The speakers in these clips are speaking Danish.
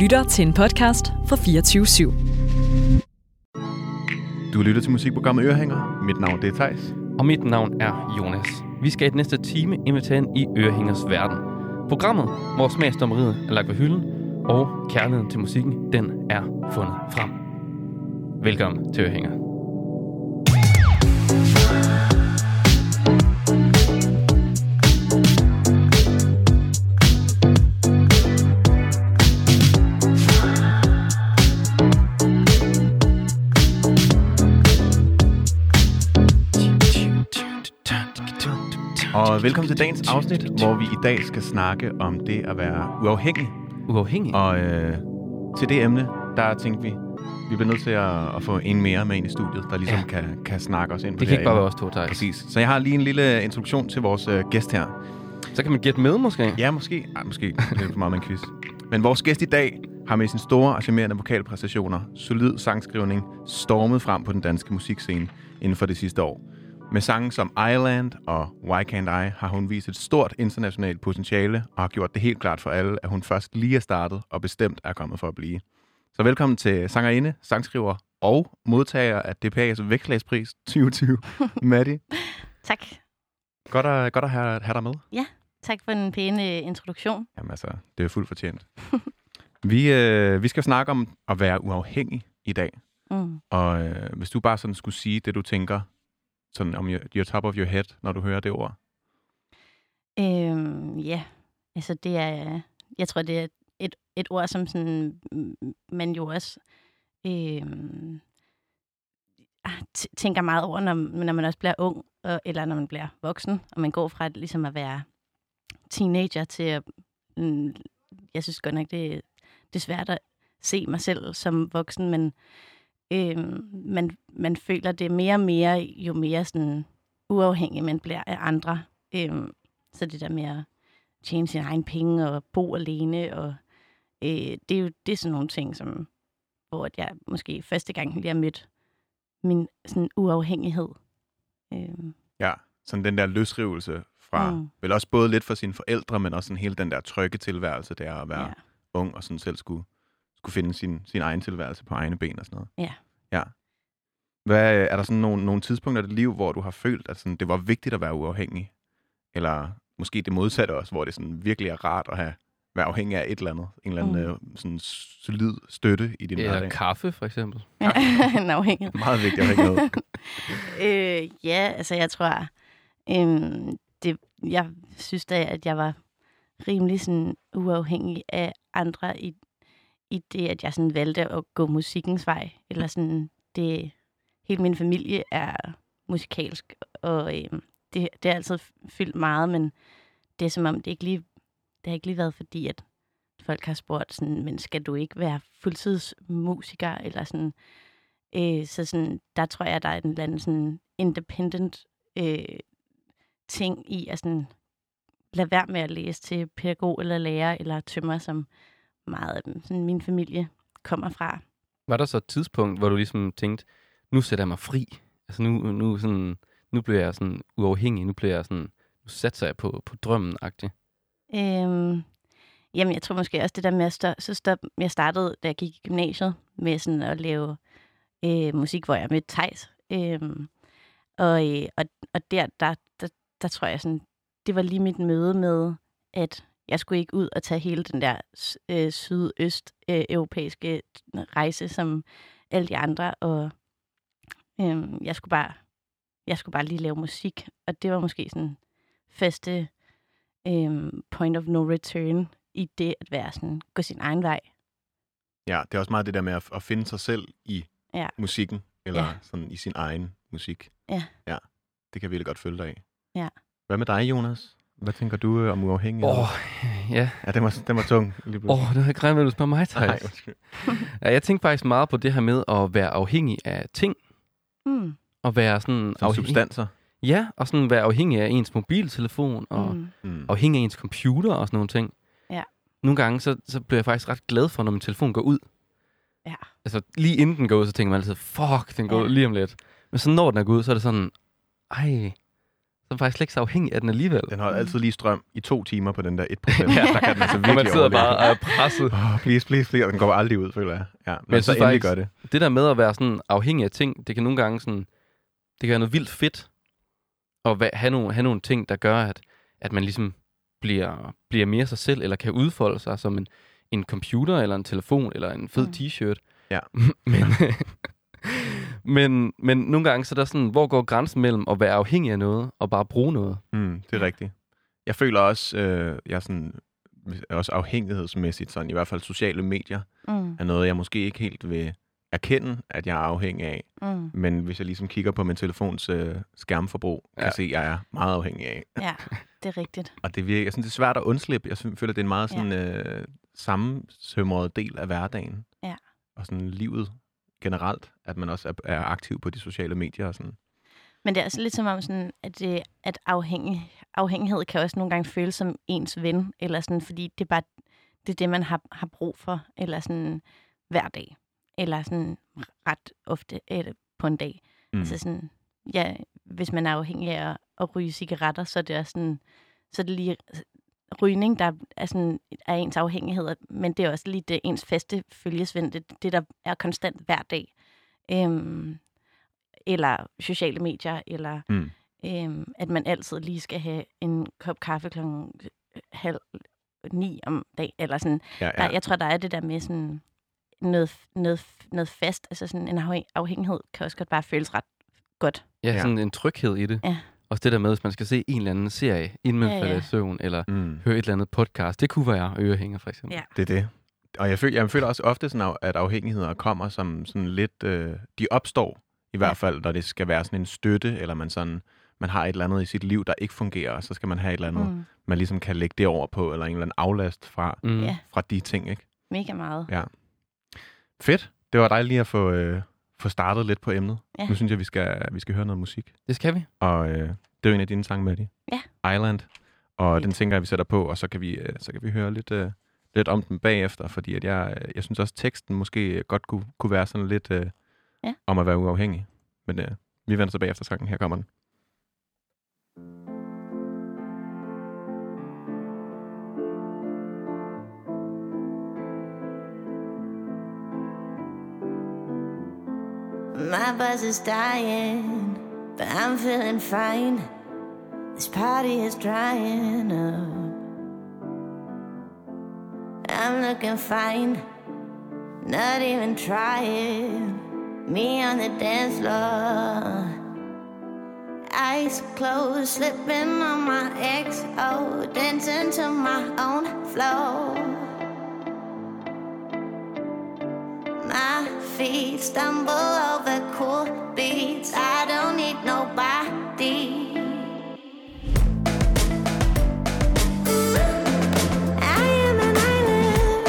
lytter til en podcast fra 24 /7. Du lytter til musikprogrammet Ørehænger. Mit navn det er Thijs. Og mit navn er Jonas. Vi skal i den næste time invitere ind i Ørehængers verden. Programmet, hvor smagsdommeriet er lagt på hylden, og kærligheden til musikken, den er fundet frem. Velkommen til Ørehænger. Og velkommen til dagens afsnit, hvor vi i dag skal snakke om det at være uafhængig. Uafhængig? Og øh, til det emne, der tænkte vi, vi bliver nødt til at, at få en mere med ind i studiet, der ligesom Ja. ja. kan, kan snakke os ind Det på det kan her ikke bare være emne. os to, Thijs. Præcis. Så jeg har lige en lille introduktion til vores øh, gæst her. Så kan man gætte med, måske? Ja. Ja, måske. Ej, måske lidt for meget med en quiz. Men vores gæst i dag har med sine store og charmerende vokalpræstationer, solid sangskrivning, stormet frem på den danske musikscene inden for det sidste år. Med sange som Island og Why Can't I har hun vist et stort internationalt potentiale og har gjort det helt klart for alle, at hun først lige er startet og bestemt er kommet for at blive. Så velkommen til sangerinde, sangskriver og modtager af DPA's vægtlagspris 2020, Matti. Tak. Godt at, godt at have, have dig med. Tak for den pæne øh, introduktion. Jamen altså, det er fuldt fortjent. vi, øh, vi skal snakke om at være uafhængig i dag. Mm. Og øh, hvis du bare sådan skulle sige det, du tænker, sådan om your, your top of your head, når du hører det ord. Øhm, ja, altså det er, jeg tror, det er et, et ord, som sådan, mm, man jo også øhm, ah, t- tænker meget over, når, når man også bliver ung, og, eller når man bliver voksen, og man går fra at, ligesom at være teenager til at, mm, jeg synes godt nok, det, det er svært at se mig selv som voksen, men øhm, man, man føler det mere og mere, jo mere sådan uafhængig man bliver af andre. Øhm, så det der med at tjene sine egne penge og bo alene, og øh, det, er jo, det er sådan nogle ting, som, hvor at jeg måske første gang lige har mødt min sådan, uafhængighed. Øhm, Ja, sådan den der løsrivelse fra, mm. Mm. vel også både lidt for sine forældre, men også sådan hele den der trygge tilværelse, der at være ja. ja. ung og sådan selv skulle, skulle finde sin, sin egen tilværelse på egne ben og sådan noget. Ja. Ja. Hvad, øh, er der sådan nogle, nogle tidspunkter i dit liv, hvor du har følt, at sådan, det var vigtigt at være uafhængig? Eller måske det modsatte også, hvor det sådan virkelig er rart at have, være afhængig af et eller andet. En eller anden mm. sådan solid støtte i din hverdag. Eller kaffe, for eksempel. en afhængighed. Meget vigtigt afhængighed. øh, ja, altså jeg tror, øhm, det, jeg synes da, at jeg var rimelig sådan uafhængig af andre i, i det, at jeg sådan valgte at gå musikkens vej. Eller sådan, det, hele min familie er musikalsk, og øhm, det, det har altid fyldt meget, men det er som om, det ikke lige, det har ikke lige været fordi, at folk har spurgt sådan, men skal du ikke være fuldtidsmusiker, eller sådan, Øh, så sådan, der tror jeg, der er en eller anden sådan independent øh, ting i at sådan, lade være med at læse til pædagog eller lærer eller tømmer, som meget af dem, sådan min familie kommer fra. Var der så et tidspunkt, hvor du ligesom tænkte, nu sætter jeg mig fri? Altså nu, nu, sådan, nu bliver jeg sådan uafhængig, nu bliver jeg sådan, nu satser jeg på, på drømmen-agtigt. Øhm, jamen, jeg tror måske også det der med at stå, så stop, jeg startede, da jeg gik i gymnasiet, med sådan at lave øh, musik, hvor jeg mødte Thijs. Øhm, og, øh, og, og der, der, der, der tror jeg sådan, det var lige mit møde med, at jeg skulle ikke ud og tage hele den der s- øh, sydøst-europæiske rejse, som alle de andre, og øhm, jeg skulle bare jeg skulle bare lige lave musik, og det var måske sådan første øhm, point of no return i det at være sådan, gå sin egen vej. Ja, det er også meget det der med at, at finde sig selv i ja. Ja. musikken, eller ja. Ja. sådan i sin egen musik. Ja. ja. Det kan jeg virkelig godt følge dig af. Ja. Hvad med dig, Jonas? Hvad tænker du øh, om uafhængighed? Åh, oh, ja. Ja, den var, den var tung. Lige Åh, oh, det havde jeg ikke regnet med, at du spørger mig, Nej, Thijs. undskyld. Ja, jeg tænkte faktisk meget på det her med at være afhængig af ting, Mm. og være sådan... Som substanser. Ja, og sådan være afhængig af ens mobiltelefon, og mm. Mm. Mm. afhængig af ens computer og sådan nogle ting. Ja. Nogle gange, så, så bliver jeg faktisk ret glad for, når min telefon går ud. Ja. Altså, lige inden den går ud, så tænker man altid, fuck, den går Ja. ud lige om lidt. Men så når den er gået ud, så er det sådan, ej, er faktisk slet ikke så afhængig af den alligevel. Den holder altid lige strøm i to timer på den der 1%. Ja. ja. Der kan den altså Og man virkelig sidder bare overleve. og er presset. Oh, please, please, please. Og Den går aldrig ud, føler jeg. Ja, men, jeg så synes endelig faktisk- gør det. Det der med at være sådan afhængig af ting, det kan nogle gange sådan, det kan være noget vildt fedt at va- have nogle, have nogle ting, der gør, at, at man ligesom bliver, bliver mere sig selv, eller kan udfolde sig som en, en computer, eller en telefon, eller en fed Mm. t-shirt. Ja. men, men, men nogle gange, så er der sådan, hvor går grænsen mellem at være afhængig af noget, og bare bruge noget? Mm, det er rigtigt. Jeg føler også, øh, jeg er sådan, også afhængighedsmæssigt, sådan, i hvert fald sociale medier, Mm, er noget, jeg måske ikke helt vil erkende, at jeg er afhængig af. mm, Men hvis jeg ligesom kigger på min telefons øh, skærmforbrug, kan Ja. jeg se, at jeg er meget afhængig af. ja, det er rigtigt. Og det virker, jeg synes, det er svært at undslippe. Jeg synes, føler, det er en meget sådan, øh, sammensømret del af hverdagen. Ja. Og sådan livet generelt, at man også er, er aktiv på de sociale medier og sådan. Men det er også lidt som om, sådan, at, øh, at afhængig, afhængighed kan også nogle gange føles som ens ven, eller sådan, fordi det er bare det, er det man har, har brug for, eller sådan hver dag, eller sådan ret ofte eller på en dag. Mm. Mm. Altså sådan, ja, hvis man er afhængig af at, at ryge cigaretter, så er det også sådan, så er det lige rygning, der er, sådan, er ens afhængighed, men det er også lige det ens faste følgesvend, det, det der er konstant hver dag. Øhm, eller sociale medier, eller Mm. øhm, at man altid lige skal have en kop kaffe klokken øh, halv ni om dagen, eller sådan, Ja, der, jeg tror, der er det der med sådan noget, noget, noget fast. Altså sådan en afhæng- afhængighed kan også godt bare føles ret godt. Ja, Ja. sådan en tryghed i det. Ja. Også det der med, hvis man skal se en eller anden serie, inden man Ja, ja, falder ja. i søvn, eller Mm. høre et eller andet podcast. Det kunne være ørehænger, for eksempel. Ja. Det er det. Og jeg føler, jeg føler også ofte, sådan, af- at afhængigheder kommer som sådan lidt... Øh, de opstår i hvert fald, når det skal være sådan en støtte, eller man sådan man har et eller andet i sit liv, der ikke fungerer, og så skal man have et eller andet, mm. Mm. man ligesom kan lægge det over på, eller en eller anden aflast fra, Mm. Ja. fra de ting, ikke? Mega meget. Ja. Fedt. Det var dejligt lige at få, øh, få startet lidt på emnet. Ja. Nu synes jeg, vi skal, vi skal høre noget musik. Det skal vi. Og øh, det er jo en af dine sange, Maddie. Ja. Island. Og Fedt. den tænker jeg, vi sætter på, og så kan vi, øh, så kan vi høre lidt, øh, lidt om den bagefter. Fordi at jeg, øh, jeg synes også, teksten måske øh, godt kunne, kunne være sådan lidt øh, Ja. om at være uafhængig. Men øh, vi vender tilbage efter sangen. Her kommer den. My buzz is dying, but I'm feeling fine. This party is drying up. I'm looking fine, not even trying. Me on the dance floor, eyes closed, slipping on my XO, dancing to my own flow. My feet stumble over cool beats. I don't need nobody. I am an island.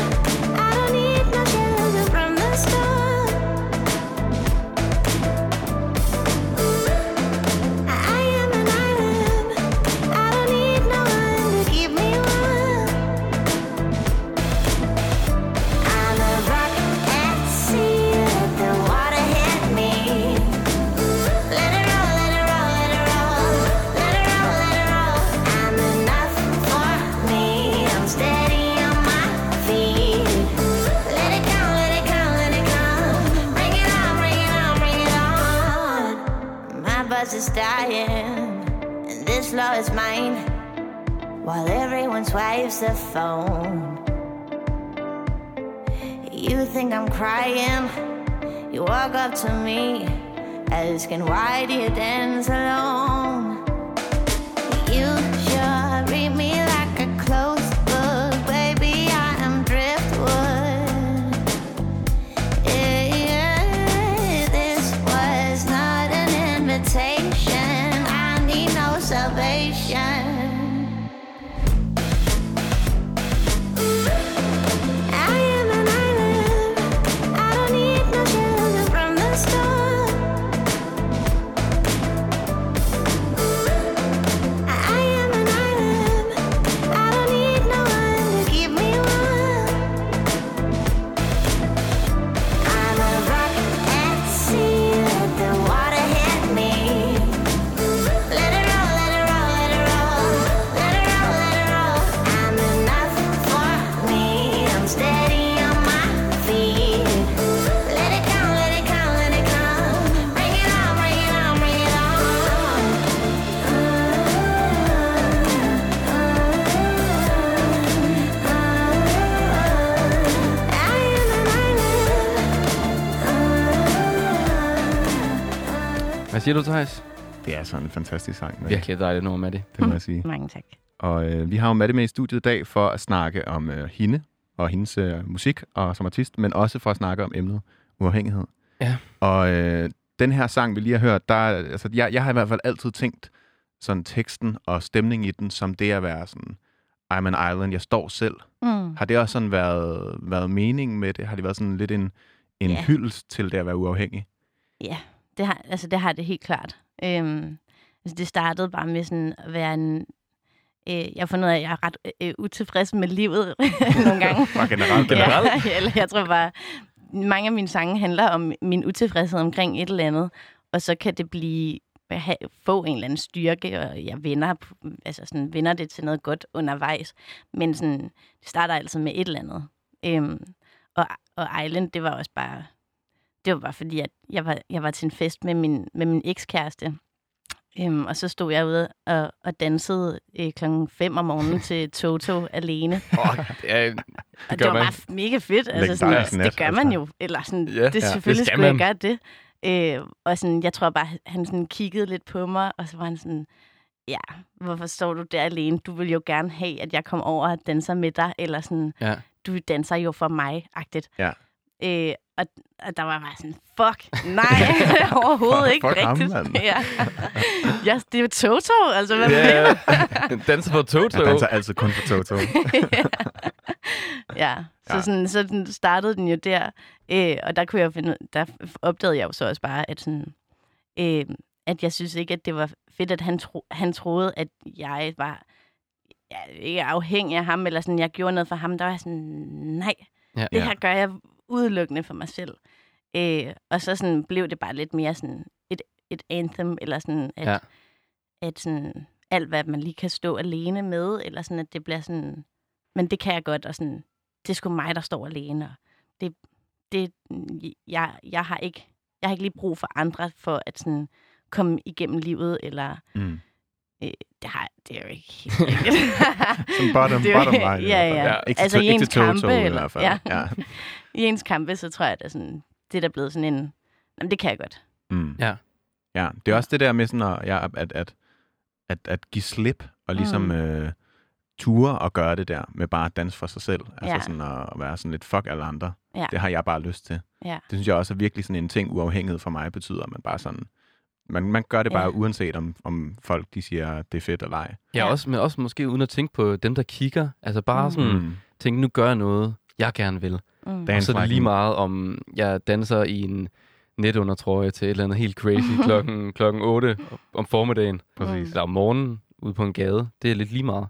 I don't need no shelter from the storm. I am an island. I don't need no one to keep me warm. I'm a rock at sea. Let the water hit me. Let it roll, let it roll, let it roll, let it roll, let it roll. I'm enough for me. I'm steady on my feet. Let it come, let it come, let it come. Bring it on, bring it on, bring it on. My buzz is dying, and this floor is mine. While everyone swipes the phone. You think I'm crying? You walk up to me, asking why do you dance alone? You sure read me like a closed book, baby. I am driftwood. Yeah, this was not an invitation. I need no salvation. I am an island. I don't need no shelter from the storm. Hvad siger du, Thijs? Det er sådan en fantastisk sang. men Virkelig dejligt nummer med det. Det må jeg sige. Mange tak. Og øh, vi har jo Matte med i studiet i dag for at snakke om øh, hende og hendes øh, musik og som artist, men også for at snakke om emnet uafhængighed. Ja. Og øh, den her sang, vi lige har hørt, der, er- altså, jeg, jeg har i hvert fald altid tænkt sådan teksten og stemningen i den, som det at være sådan, I'm an island, jeg står selv. Mm. Har det også sådan været, været meningen med det? Har det været sådan lidt en, en Ja. yeah. hyldest til det at være uafhængig? Det har, altså, det har det helt klart. Øhm, altså, det startede bare med sådan at være en... Øh, jeg har fundet ud af, at jeg er ret øh, utilfreds med livet nogle gange. Bare generelt? Generelt? Ja, eller jeg tror bare, mange af mine sange handler om min utilfredshed omkring et eller andet, og så kan det blive have, få en eller anden styrke, og jeg vender, p- altså sådan, vender det til noget godt undervejs. Men sådan, det starter altid med et eller andet. Øhm, og, og Island, det var også bare, det var bare fordi, at jeg var, jeg var til en fest med min, med min ekskæreste, Øhm, og så stod jeg ude og, og dansede øh, klokken 5 om morgenen til Toto alene. Oh, det er, Og det gør var man. bare f- mega fedt. Altså, sådan, Legendarisk altså, nat, det gør man altså. jo. Eller sådan, Ja, ja, det ja, selvfølgelig det skal skulle jeg man. gøre det. Øh, og sådan, jeg tror bare, han sådan kiggede lidt på mig, og så var han sådan, ja, hvorfor står du der alene? Du vil jo gerne have, at jeg kommer over og danser med dig, eller sådan, Ja. du danser jo for mig-agtigt. Ja. Øh, og, og der var bare sådan, fuck, nej, overhovedet ikke Fuck ham, rigtigt. mand. ja. ja, det er jo Toto, altså, hvad yeah. Ja, danser på Toto. Jeg danser altid kun for Toto. Ja, så, Ja. ja. Sådan, så den startede den jo der, øh, og der, kunne jeg jo finde, ud- der f- opdagede jeg jo så også bare, at, sådan, øh, at jeg synes ikke, at det var fedt, at han, tro, han troede, at jeg var ja, ikke afhængig af ham, eller sådan, jeg gjorde noget for ham. Der var jeg sådan, nej, Ja. det her gør jeg udelukkende for mig selv. Øh, og så sådan, blev det bare lidt mere sådan et, et anthem, eller sådan, at, Ja. ja. at sådan, alt, hvad man lige kan stå alene med, eller sådan, at det bliver sådan, men det kan jeg godt, og sådan, det er sgu mig, der står alene, og det, det jeg, jeg har ikke, jeg har ikke lige brug for andre for at sådan komme igennem livet, eller Mm. øh, det, har, det er jo ikke helt rigtigt. Sådan bottom, Det er jo- bottom line. i ja, hvert fald. ja. Ikke Altså til, i ikke ens til Toto kampe, i eller- hvert fald. ja. ja. I ens kampe, så tror jeg, at sådan, det er der blevet sådan en, jamen, det kan jeg godt. Mm. Ja. Ja, det er også det der med sådan at, ja, at, at, at, at give slip og ligesom mm. Mm. øh, ture og gøre det der med bare at danse for sig selv. Altså Ja. sådan at, at være sådan lidt fuck alle andre. Ja. Det har jeg bare lyst til. Ja. Det synes jeg også er virkelig sådan en ting uafhængighed for mig betyder, at man bare sådan, man, man gør det bare Ja. uanset om, om folk de siger, det er fedt eller ej. Ja, også, men også måske uden at tænke på dem, der kigger. Altså bare Mm. sådan, tænke, nu gør jeg noget, jeg gerne vil. Mm. Dance så er det like lige me. meget, om jeg danser i en netundertrøje til et eller andet helt crazy klokken, klokken 8 om formiddagen. Præcis. Eller om morgenen ude på en gade. Det er lidt lige meget.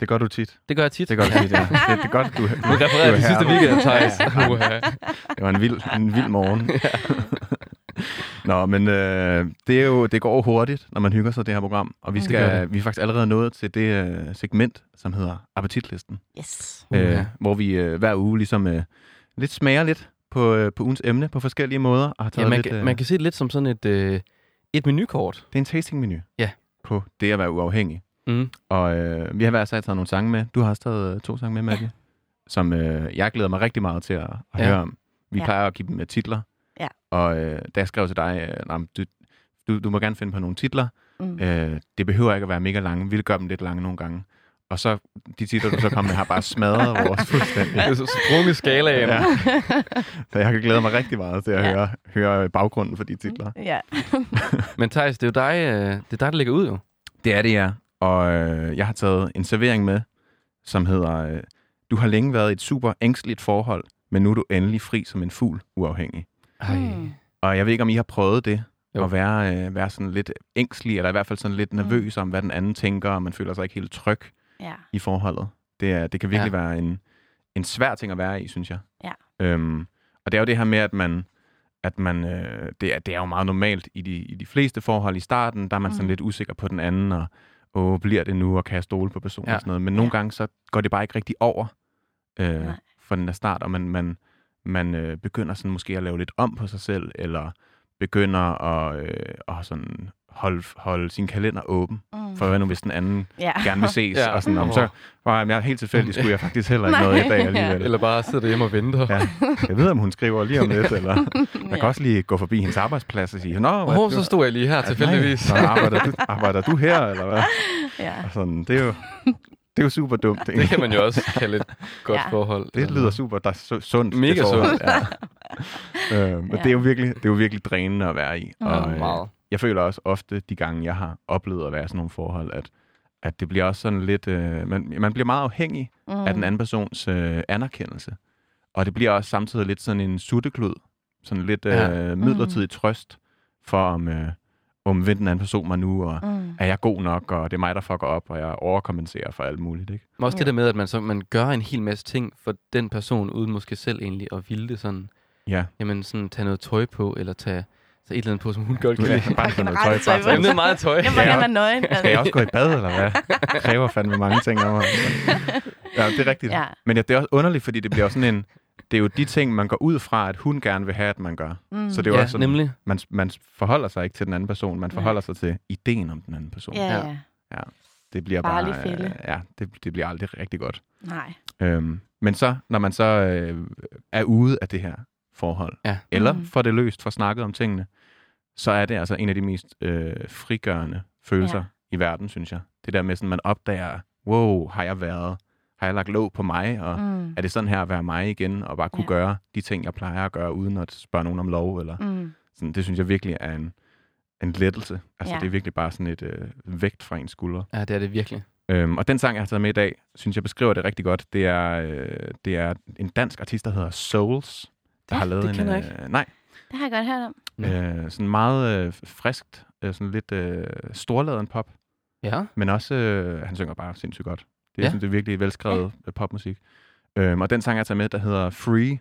Det gør du tit. Det gør jeg tit. Det gør du tit, ja. Det, det er godt, du, Nu refererer jeg du er de sidste herlig. weekend, Thijs. Ja, ja. Uha. Det var en vild, en vild morgen. Nå, men øh, det, er jo, det går jo hurtigt, når man hygger sig det her program. Og vi, Det skal, Mm. gør det vi er faktisk allerede nået til det øh, segment, som hedder appetitlisten. Yes. Uha. Øh, hvor vi øh, hver uge ligesom øh, lidt smager lidt på, øh, på ugens emne på forskellige måder. Og har taget ja, man, lidt, kan, øh, man kan se det lidt som sådan et, øh, et menukort. Det er en tastingmenu Ja. på det at være uafhængig. Mm. Og øh, vi har hver sag taget nogle sange med. Du har også taget øh, to sange med, Maddie, som øh, jeg glæder mig rigtig meget til at, at Ja. høre om. Vi Ja. plejer at give dem med titler. Ja. Og øh, da jeg skrev til dig, øh, nej, men du, du, du må gerne finde på nogle titler. Mm. Øh, det behøver ikke at være mega lange. Vi vil gøre dem lidt lange nogle gange. Og så, de titler, du så kom med, har bare smadret vores fuldstændig. Det er så sprunget skalaen. Ja. Så jeg glæder mig rigtig meget til at Ja. høre, høre baggrunden for de titler. Ja. Men Thijs, det er jo dig, øh, det er dig, der ligger ud jo. Det er det, ja. Og øh, jeg har taget en servering med, som hedder, øh, du har længe været i et super ængstligt forhold, men nu er du endelig fri som en fugl, uafhængig. Ej. Mm. Og jeg ved ikke, om I har prøvet det, Jo. jo. at være, øh, være sådan lidt ængstelig, eller i hvert fald sådan lidt nervøs om, hvad den anden tænker, og man føler sig ikke helt tryg Ja. i forholdet. Det, er, det kan virkelig ja. være en, en svær ting at være i, synes jeg. Ja. Øhm, og det er jo det her med, at man, at man øh, det, er, det er jo meget normalt i de, i de fleste forhold i starten, der er man mm. sådan Mm. lidt usikker på den anden, og åh, bliver det nu, og kan jeg stole på personen Ja. og sådan noget. Men nogle Ja. gange, så går det bare ikke rigtig over øh, Nej. for den der start, og man, man, man øh, begynder sådan måske at lave lidt om på sig selv, eller begynder at, øh, at sådan holde, holde sin kalender åben, Mm. for hvad nu, hvis den anden ja. gerne vil ses, Ja. ja. og sådan, om så var jeg helt tilfældig, skulle jeg faktisk heller ikke noget i dag alligevel. Eller bare sidder derhjemme og venter. Ja. Jeg ved, om hun skriver lige om lidt, eller man kan Ja. også lige gå forbi hendes arbejdsplads og sige, Nå, hvad, Åh, så stod jeg lige her at, tilfældigvis. Nej, så arbejder, du, arbejder du her, eller hvad? ja. Og sådan, det er jo, det er jo super dumt. Det kan man jo også kalde et godt Ja. forhold. Det lyder super der er su- sundt. Mega det forhold, Ja. øh, men Ja. det, er jo virkelig, det er jo virkelig drænende at være i. Og, øh, Ja, meget. jeg føler også ofte, de gange, jeg har oplevet at være i sådan nogle forhold, at, at det bliver også sådan lidt... Øh, man, man bliver meget afhængig Mm. af den anden persons øh, anerkendelse. Og det bliver også samtidig lidt sådan en sutteklud. Sådan lidt øh, Ja. midlertidig trøst for, om, øh, om vil den anden person mig nu, og Mm. er jeg god nok, og det er mig, der fucker op, og jeg overkompenserer for alt muligt. Ikke? Men også Ja. det der med, at man, så, man gør en hel masse ting for den person, uden måske selv egentlig at ville det sådan. Ja. Jamen sådan, tage noget tøj på, eller tage så et eller andet på, som hun godt kan Nu er lide. jeg bare sådan noget generelt tøj, tøj bare på. Jamen, det er meget tøj. Jeg må Ja. gerne være nøgen. Skal jeg også gå i bad, eller hvad? Det kræver fandme mange ting af mig. Ja, det er rigtigt. Ja. Ja. Men ja, det er også underligt, fordi det bliver også sådan en... Det er jo de ting, man går ud fra, at hun gerne vil have, at man gør. Mm. Så det er jo Ja, også sådan, nemlig. man, man forholder sig ikke til den anden person, man forholder sig til ideen om den anden person. Ja, Ja. ja. Det bliver Farlig bare... øh, fælde. ja, det, det bliver aldrig rigtig godt. Nej. Øhm, men så, når man så øh, er ude af det her forhold, Ja. eller Mm. får det løst, får snakket om tingene, så er det altså en af de mest øh, frigørende følelser Ja. ja. i verden, synes jeg. Det der med, sådan man opdager, wow, har jeg været, har jeg lagt låg på mig, og mm. Mm. er det sådan her at være mig igen, og bare kunne Ja. ja. gøre de ting, jeg plejer at gøre, uden at spørge nogen om lov, eller Mm. sådan, det synes jeg virkelig er en, en lettelse. Altså, Ja. ja. det er virkelig bare sådan et øh, vægt fra ens skuldre. Ja, det er det virkelig. Øhm, og den sang, jeg har taget med i dag, synes jeg beskriver det rigtig godt. Det er, øh, det er en dansk artist, der hedder Souls, der Ja, har lavet det en... kender jeg Øh, nej, Det har jeg godt hørt om. Nå. øh, sådan meget øh, friskt, øh, sådan lidt øh, storladen pop, Ja. men også, øh, han synger bare sindssygt godt. Det, Ja. ja. synes, det er virkelig velskrevet ja. popmusik. Øhm, og den sang, jeg har taget med, der hedder Free,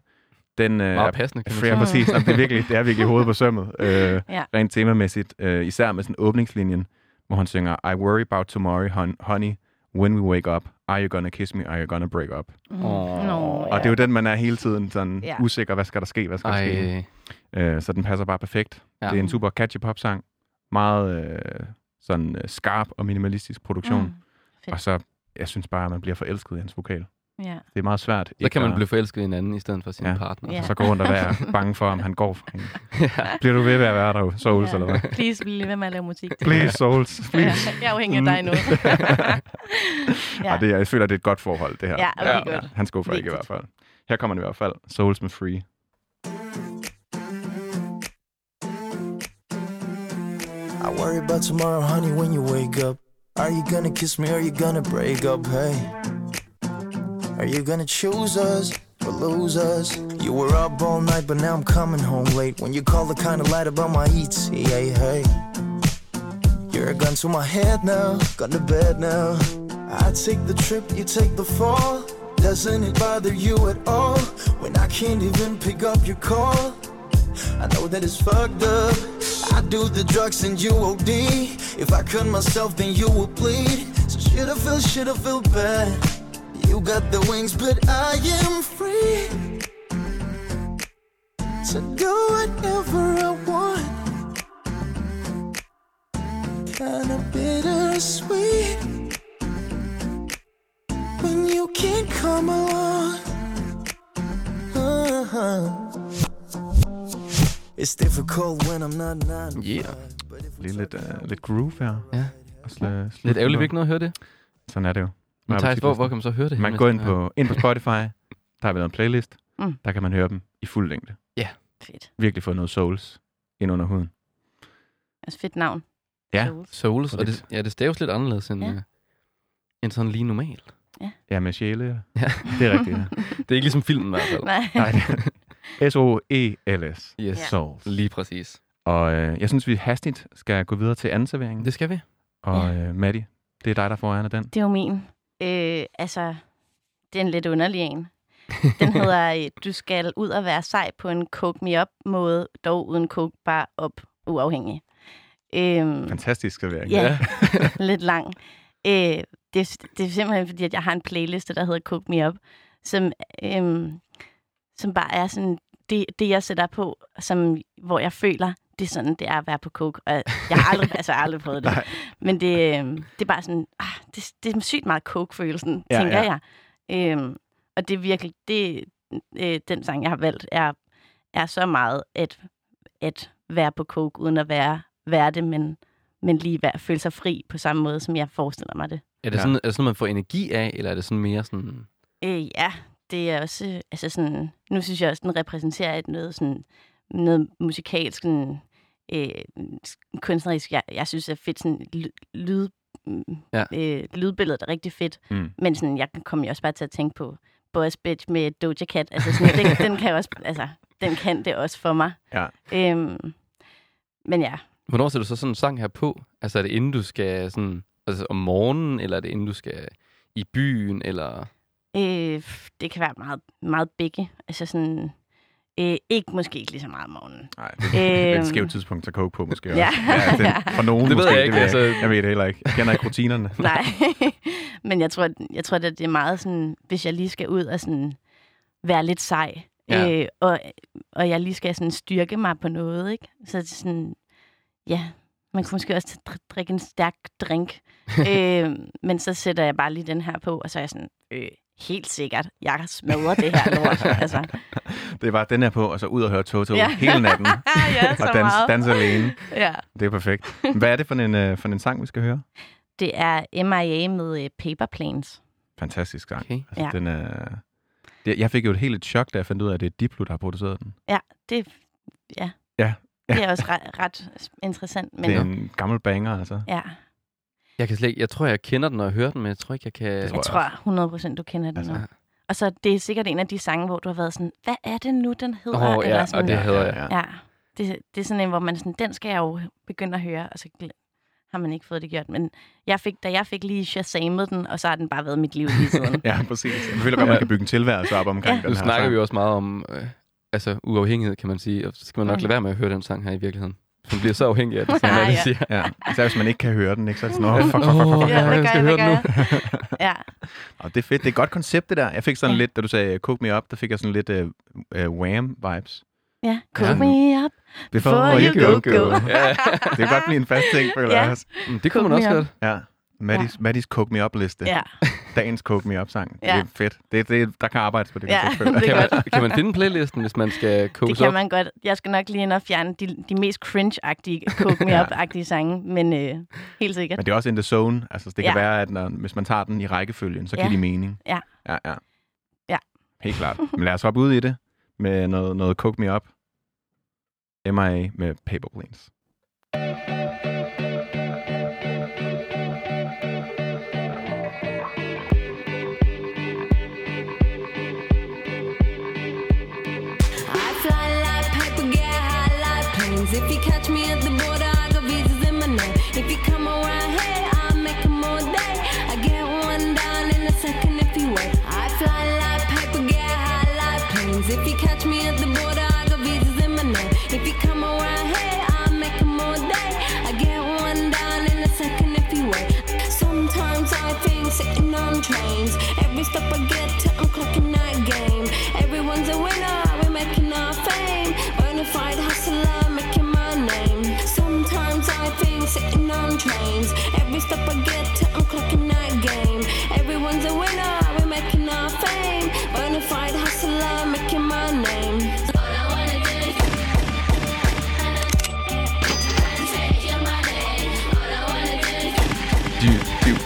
den øh, er Meget passende, kan man Free, sige. mm. præcis. Jamen, det, er virkelig, det er virkelig hovedet på sømmet, øh, Ja. ja. rent temamæssigt. Øh, især med sådan åbningslinjen, hvor han synger, I worry about tomorrow, hon- honey, when we wake up. Are you gonna kiss me? Are you gonna break up? Mm. Åh. Nå, Og det er jo den, man er hele tiden sådan Ja. ja. usikker. Hvad skal der ske? Hvad skal der ske? Ej, Øh, så den passer bare perfekt. Ja. Ja. Det er en super catchy popsang. Meget øh, sådan øh, skarp og minimalistisk produktion. Mm. Mm. Og så, jeg synes bare, at man bliver forelsket i hans vokal. Mm. Ja. Det er meget svært. så kan man at- blive forelsket i en anden, i stedet for sin Ja. partner. Ja. Og så gå rundt og være bange for, om han går fra hende. Bliver du ved med at være der, Souls, Ja. eller hvad? Please, bliv lige ved med at lave musik. til Please, Souls, mig. Ja, please. jeg er afhængig af dig nu. Ja. Ej, det, er- jeg føler, det er et godt forhold, det her. Ja, okay, godt. Han skuffer ikke i hvert Vigtigt. fald. Her kommer den i hvert fald. Souls med Free. I worry about tomorrow, honey, when you wake up. Are you gonna kiss me? Are you gonna break up? Hey, are you gonna choose us or lose us? You were up all night, but now I'm coming home late. When you call, I kinda lied about my eats. Hey, hey, you're a gun to my head now. Gone to bed now. I take the trip, you take the fall. Doesn't it bother you at all when I can't even pick up your call? I know that it's fucked up. I do the drugs and you OD. If I cut myself, then you would bleed. So should I feel, should I feel bad? You got the wings, but I am free to do whatever I want. Kinda bittersweet when you can't come along. Uh-huh. It's difficult when I'm not not Yeah. Lige lidt, uh, lidt groove her. Ja. Og sl- sl- Lidt ærgerligt, vi ikke noget at høre det. Sådan er det jo. Men Maja Thijs, hvor, Musiklysten. hvor kan man så høre det? Man henne, går hvis ind man på, ind på Spotify, der har vi lavet en playlist, Mm. mm. der kan man høre dem i fuld længde. Fedt. Virkelig få noget souls ind under huden. Altså fedt navn. Ja. Souls. Souls, og det, Lidt. ja, det staves lidt anderledes end, Ja. ja. end sådan lige normalt. Ja, med sjæle. Ja. Det er rigtigt, ja. Det er ikke ligesom filmen i hvert fald. Nej. Nej, det- S-O-E-L-S. Yes, Ja. E Souls. lige præcis. Og øh, jeg synes, vi hastigt skal gå videre til anden servering. Det skal vi. Og øh, Maddie, det er dig, der får æren af den. Det er jo min. Øh, altså, det er en lidt underlig en. Den hedder, øh, du skal ud og være sej på en coke me up måde, dog uden coke bare op uafhængig. Øhm, Fantastisk servering. Ja, lidt lang. Øh, det, er, det er simpelthen fordi, at jeg har en playliste, der hedder Cook Me Up, som, øhm, som bare er sådan det, det, jeg sætter på, som, hvor jeg føler, det er sådan, det er at være på coke. Og jeg har aldrig, altså, jeg har aldrig prøvet det. Nej. Men det, øh, det er bare sådan, ah, det, det er sygt meget coke-følelsen, Ja, ja, tænker ja. ja. jeg. Øhm, og det er virkelig, det, øh, den sang, jeg har valgt, er, er så meget at, at være på coke, uden at være, være det, men, men lige være, føle sig fri på samme måde, som jeg forestiller mig det. Er det, Ja. sådan, er det sådan, man får energi af, eller er det sådan mere sådan... Øh, ja, det er også, øh, altså sådan, nu synes jeg også, den repræsenterer et noget sådan, noget musikalsk, sådan, øh, s- kunstnerisk, jeg, jeg synes er fedt, sådan ly- lyd, Ja. ja. øh, lydbilledet er rigtig fedt, Mm. men sådan, jeg kom jo også bare til at tænke på Boys Bitch med Doja Cat, altså sådan, den, den kan også, altså, den kan det også for mig. Ja. Øhm, men ja, Hvornår sætter du så sådan en sang her på? Altså er det inden du skal sådan... Altså om morgenen, eller er det inden du skal i byen, eller... Øh, det kan være meget, meget begge. Altså sådan, øh, ikke måske ikke lige så meget om morgenen. Nej, det er et Øhm. skævt tidspunkt at koke på, måske Ja. også. det, for nogen Det ved måske, jeg ikke, Det ved jeg, altså- jeg ved det heller ikke. Jeg kender ikke rutinerne. Nej, men jeg tror, at- jeg tror, at det er meget sådan, hvis jeg lige skal ud og sådan være lidt sej, Ja. øh, og, og jeg lige skal sådan styrke mig på noget, ikke? Så det er sådan, ja, man kunne måske også t- dr- drikke en stærk drink, øh, men så sætter jeg bare lige den her på, og så er jeg sådan, øh, helt sikkert, jeg smadrer det her lort, altså. Det er bare den her på, og så ud og høre Toto Ja. hele natten. Ah, ja, og så dans, meget. danse alene. Ja. Det er perfekt. Hvad er det for en, øh, for en sang, vi skal høre? Det er MIA med øh, Paper Planes. Fantastisk sang. Okay. Altså, Ja. den er... Det- Jeg fik jo et helt et chok, da jeg fandt ud af, at det er Diplo, der har produceret den. Det, ja. Ja. det er også ret, ret interessant, men det er en gammel banger, altså. ja, Jeg, kan slet ikke, jeg tror, jeg kender den, når jeg hører den, men jeg tror ikke, jeg kan... jeg tror 100% du kender den Altså. altså. nu. Og så det er sikkert en af de sange, hvor du har været sådan, hvad er det nu, den hedder? Åh, ja, og sådan, det hader jeg. Ja. ja. Det, det er sådan en, hvor man sådan, den skal jeg jo begynde at høre, og så gl- har man ikke fået det gjort. Men jeg fik, da jeg fik lige shazamet den, og så har den bare været mit liv lige siden. Ja, præcis. Jeg føler godt, man kan bygge en tilværelse op omkring Ja. den Nu her snakker sang. vi jo også meget om øh, altså, uafhængighed, kan man sige. Og så skal man nok Mm. lade være med at høre den sang her i virkeligheden. Man bliver så afhængig af den, som Ja, alle ja. siger. Ja, især hvis man ikke kan høre den, ikke? Så er det sådan, åh, fuck, fuck, fuck, fuck, fuck. Ja, hvad jeg gør skal høre jeg, hvad gør den nu. jeg? Ja, Og det er fedt. Det er et godt koncept, det der. Jeg fik sådan Ja. lidt, da du sagde, uh, cook me up, der fik jeg sådan lidt uh, uh, wham-vibes. ja. Cool Ja. me up. Before you go, go. Ja. Det kan godt blive en fast ting, føler jeg Ja. også. Mm, Det kunne man Cook også me godt. Ja. Maddis, Maddis Cook Me Up-liste. Ja, Dagens Cook Me Up-sang. Det Ja. er fedt. Det, det, der kan arbejdes på det. Ja, koncept, føler jeg. det Kan er godt. man, kan man finde playlisten, hvis man skal Det kose kan op? man godt. Jeg skal nok lige ind og fjerne de, de mest cringe-agtige, coke me Ja. up-agtige sange, men øh, helt sikkert. Men det er også in the zone. Altså, det kan Ja. være, at når, hvis man tager den i rækkefølgen, så giver Ja. det mening. Ja. Ja, ja. Ja. Helt klart. Men lad os hoppe ud i det med noget, noget Cook Me Up. MIA med Paper Planes. I fly like paper, get high like planes. If you catch me at the border, I got visas in my name. If you come around, hey, I'll make 'em all day. I get one down in a second if you wait. I fly like paper, get high like planes. If you catch me at the border, I got visas in my name. If you come around, hey, I'll make 'em all day. I get one down in a second if you wait. Sometimes I think sitting on trains. Every stop I get to, I'm clocking that game. Everyone's a winner, we're making our fame. Bonafide hustler, making my name. Sometimes I think sitting on trains. Every stop I get to, I'm clocking that game. Everyone's a winner, we're making our fame. Bonafide hustler, making my name. All I wanna do is take your money. All I wanna do is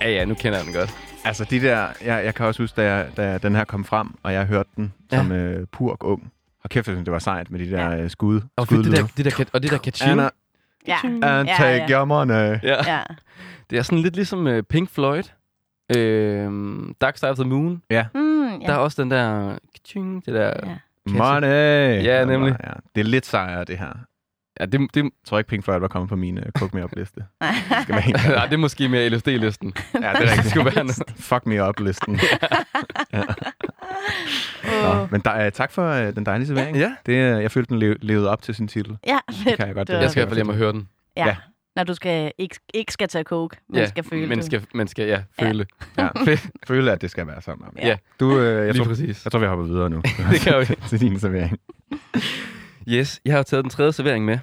Ja, ja, nu kender jeg den godt. Altså, de der... Jeg, jeg kan også huske, da, jeg, da den her kom frem, og jeg hørte den Ja. som øh, purk ung. Og kæft, jeg synes, det var sejt med de der øh, skud. Og skudlyde. det der, det der, og det der kaching. Anna, Ja, and Ja, take ja. your money. Ja. ja. Det er sådan lidt ligesom øh, Pink Floyd. Øhm, Dark Side of the Moon. Mm, Der er ja. også den der... Kaching, det der... ja. Kasse. Money! Ja, nemlig. Ja, det er lidt sejere, det her. Ja, det, det, Jeg tror ikke, Pink Floyd var kommet på min uh, Cook Me Up-liste. Det skal være helt ærlig. ja, det er måske mere LSD-listen. Ja, det er rigtigt. Det skulle være noget. Fuck me up-listen. Nå, men der, uh, tak for uh, den dejlige servering. Ja. Det, uh, jeg følte, den le- levede op til sin titel. ja, Det kan jeg godt. øh, Det var- Jeg skal i hvert fald hjem og høre den. ja. Ja. ja. Når du skal, ikke, ikke skal tage coke, men ja, skal føle man det. skal, man skal, ja, føle. Ja. Fedt. føle, at det skal være sådan. Amanda. Ja. Du, uh, jeg, Lige tror, præcis. jeg tror, vi hopper videre nu. Det kan vi. til din servering. Yes, jeg har taget den tredje servering med.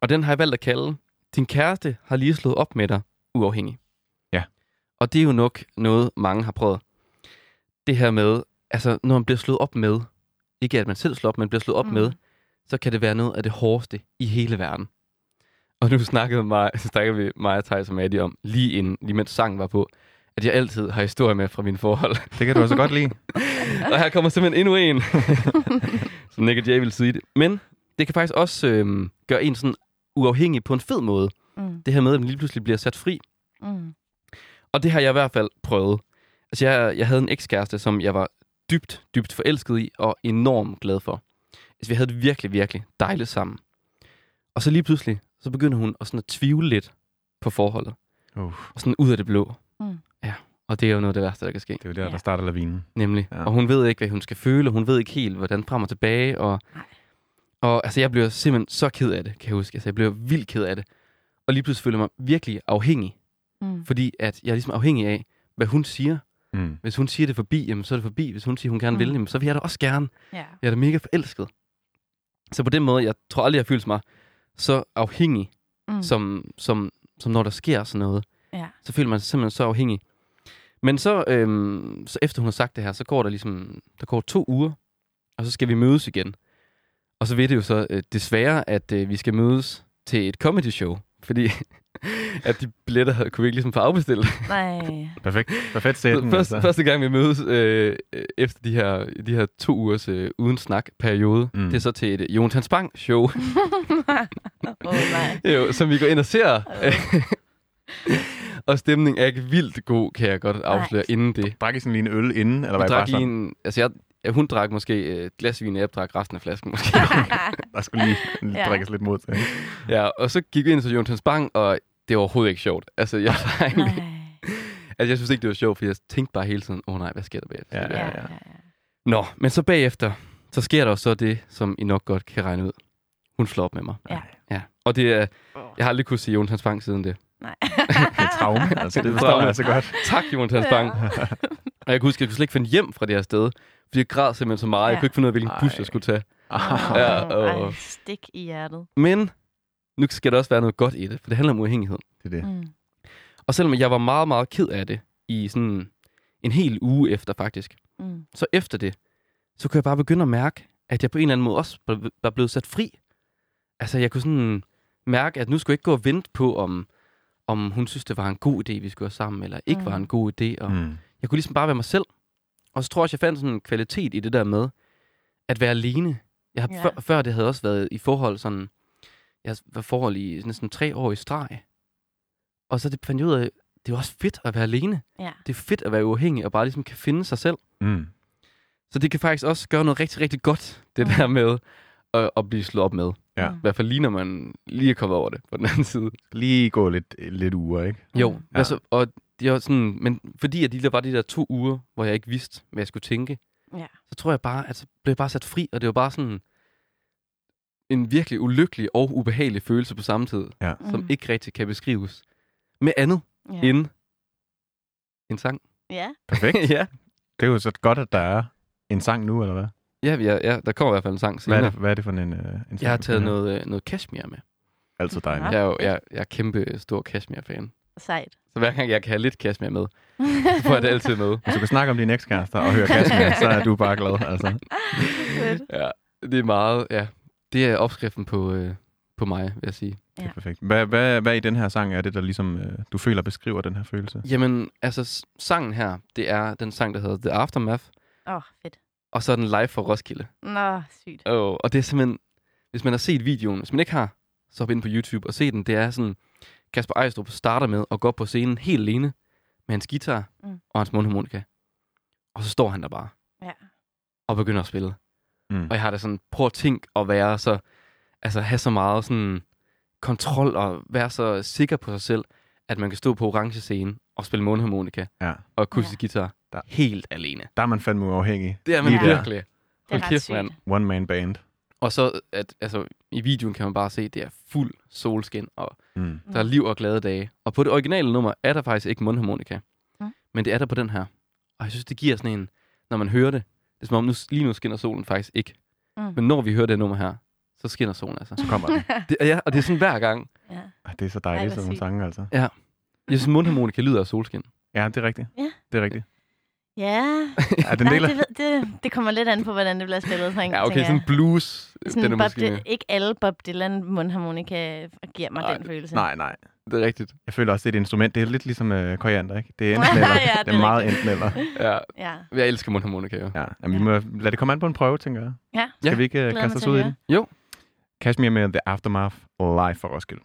Og den har jeg valgt at kalde, din kæreste har lige slået op med dig, uafhængig. Ja. Og det er jo nok noget, mange har prøvet. Det her med, altså når man bliver slået op med, ikke at man selv slår op, men bliver slået op mm. Mm. med, så kan det være noget af det hårdeste i hele verden. Og nu snakkede, mig, snakkede vi mig, Thijs og Maddie om, lige, inden, lige mens sangen var på, at jeg altid har historie med fra mine forhold. Det kan du også godt lide. Og her kommer simpelthen endnu en, som Nick og Jay ville sige det. Men det kan faktisk også øhm, gøre en sådan uafhængig på en fed måde. Mm. Det her med, at man lige pludselig bliver sat fri. Mm. Og det har jeg i hvert fald prøvet. Altså, jeg, jeg havde en ekskæreste, som jeg var dybt, dybt forelsket i og enormt glad for. Altså, vi havde det virkelig, virkelig dejligt sammen. Og så lige pludselig, så begynder hun at, sådan at tvivle lidt på forholdet. Uh, Og sådan ud af det blå. Mm. Ja, og det er jo noget af det værste, der kan ske. det er jo der, Ja. der starter lavinen. Nemlig. Ja. Ja. Og hun ved ikke, hvad hun skal føle. Hun ved ikke helt, hvordan frem og tilbage. Og, Nej. og altså, jeg blev simpelthen så ked af det, kan jeg huske. Altså, jeg blev vildt ked af det. Og lige pludselig føler jeg mig virkelig afhængig. Mm. Fordi at jeg er ligesom afhængig af, hvad hun siger. Mm. Hvis hun siger det er forbi, jamen, så er det forbi. Hvis hun siger, hun gerne vil, Mm. jamen, så vil jeg da også gerne. Ja. Jeg er da mega forelsket. Så på den måde, jeg tror aldrig, jeg følte mig så afhængig Mm. som, som, som når der sker sådan noget. Ja. Så føler man sig simpelthen så afhængig. Men så, øhm, så efter hun har sagt det her, så går der ligesom, der går to uger, og så skal vi mødes igen. Og så ved det jo så øh, desværre, at øh, vi skal mødes til et comedy show, fordi at de billetter havde, kunne vi ikke ligesom få afbestilt. Nej. Perfekt. Perfekt sætning. Først, altså. første gang vi mødes øh, øh, efter de her, de her to ugers øh, uden snak periode, mm. Mm. det er så til et øh, Jonathan Spang show, Åh, oh, nej. jo, som vi går ind og ser. Åh. og stemningen er ikke vildt god, kan jeg godt afsløre, Nej. inden det. Drak I sådan lige en øl inden, eller var Jeg I bare drak i sådan, en, altså jeg, ja, hun drak måske øh, et glas vin, og jeg drak resten af flasken måske. der skulle lige Ja. drikkes lidt mod til? ja, og så gik vi ind til Jonas Bang, og det var overhovedet ikke sjovt. Altså jeg, var nej. ikke, altså, jeg synes ikke, det var sjovt, for jeg tænkte bare hele tiden, åh oh, nej, hvad sker der bagefter? Ja, Ja, ja, ja, ja. ja. Nå, men så bagefter, så sker der jo så det, som I nok godt kan regne ud. Hun slår op med mig. Ja. ja. Og det er, jeg har aldrig kunne sige Jonas Bang siden det. Nej. Det er traume, altså. Det forstår Traume. jeg altså godt. Tak, Jonas Bang. Og jeg kunne huske, at jeg kunne slet ikke finde hjem fra det her sted, fordi jeg græd simpelthen så meget. Ja. Jeg Ja. kunne ikke finde ud af, hvilken bus Ej. jeg skulle tage. Åh, Ja, ej, åh. stik i hjertet. Men nu skal der også være noget godt i det, for det handler om uafhængighed. Det er det. Mm. Og selvom jeg var meget, meget ked af det i sådan en hel uge efter faktisk, Mm. så efter det, så kunne jeg bare begynde at mærke, at jeg på en eller anden måde også ble- var blevet sat fri. Altså jeg kunne sådan mærke, at nu skulle jeg ikke gå og vente på, om, om hun synes, det var en god idé, vi skulle være sammen, eller ikke mm. Mm. var en god idé. Og, Mm. Jeg kunne ligesom bare være mig selv. Og så tror jeg, også, jeg fandt sådan en kvalitet i det der med at være alene. Jeg har, ja. Ja. før, før det havde også været i forhold sådan... Jeg var i forhold i næsten tre år i streg. Og så det fandt jeg ud af, det er jo også fedt at være alene. Ja. Det er fedt at være uafhængig og bare ligesom kan finde sig selv. Mm. Så det kan faktisk også gøre noget rigtig, rigtig godt, det Mm. der med at, at blive slået op med. Ja. I hvert fald lige når man lige er kommet over det på den anden side. Lige gå lidt, lidt uger, ikke? Jo, Mm. ja. altså, og det var sådan, men fordi at de der var de der to uger, hvor jeg ikke vidste, hvad jeg skulle tænke, Ja. så tror jeg bare, at så blev jeg bare sat fri, og det var bare sådan en virkelig ulykkelig og ubehagelig følelse på samme tid, Ja. som Mm. ikke rigtig kan beskrives med andet Ja. ja. end en sang. Ja. Perfekt. ja. Det er jo så godt, at der er en sang nu, eller hvad? Ja, ja, ja, der kommer i hvert fald en sang Hvad senere. er det, hvad er det for en, øh, en sang? Ah, Jeg har taget noget, øh, noget cashmere med. Altid dejligt. Jeg er jo jeg, jeg er kæmpe øh, stor cashmere-fan. Sejt. Så hver gang jeg kan have lidt cashmere med, så får jeg det altid med. Hvis du kan snakke om din ekskærester og høre Kasper, så er du bare glad. Altså. Fedt. Ja, det er meget, ja. Det er opskriften på, øh, på mig, vil jeg sige. Det er perfekt. Hvad, hvad, hvad i den her sang er det, der ligesom, øh, du føler beskriver den her følelse? Jamen, altså, s- sangen her, det er den sang, der hedder The Aftermath, Åh, oh, fedt. og så er den live fra Roskilde. Nå, sygt. Oh, og det er simpelthen, hvis man har set videoen, hvis man ikke har, så hop ind på YouTube og se den. Det er sådan, Kasper Ejstrup starter med at gå op på scenen helt alene med hans guitar mm. Mm. og hans mundharmonika. Og så står han der bare Ja. og begynder at spille. Mm. Og jeg har da sådan, prøv at tænke at være så, altså have så meget sådan kontrol og være så sikker på sig selv, at man kan stå på orange scene og spille mundharmonika Ja. og akustisk ja. Ja. guitar Der- helt alene. Der er man fandme uafhængig. Det er man Lige ja. der. virkelig. Det er Hold ret kæft, sygt. mand. One man band. Og så, at, altså, i videoen kan man bare se, at det er fuld solskin, og Mm. der er liv og glade dage. Og på det originale nummer er der faktisk ikke mundharmonika, Mm. men det er der på den her. Og jeg synes, det giver sådan en, når man hører det, det er som om, nu, lige nu skinner solen faktisk ikke. Mm. Men når vi hører det nummer her, så skinner solen altså. Så kommer den. Det, ja, og det er sådan hver gang. Ja. Ah, Det er så Ej, dejligt, hvor sådan nogle sygt. sange, altså. Jeg synes, mundharmonika lyder af solskin. Ja, det er rigtigt. Ja. Det er rigtigt. ja. Ja, den Nej, deler. det, ved- det, det kommer lidt an på, hvordan det bliver spillet. Sådan, Ja, okay, tænker sådan jeg. blues. øh, sådan den er Bob måske... Dy- ikke alle Bob Dylan mundharmonika giver mig Nej, den følelse. Nej, nej. Det er rigtigt. Jeg føler også, det er et instrument. Det er lidt ligesom øh, koriander, ikke? Det er enten eller. Ja, det er det er meget enten eller. Ja, Ja. jeg elsker mundharmonika, jo. Ja, jamen, vi må lade det komme an på en prøve, tænker jeg. Ja. Skal Ja. vi ikke uh, Glæder kaste mig os til ud i at det? Jo. Kashmir med The Aftermath live fra Roskilde.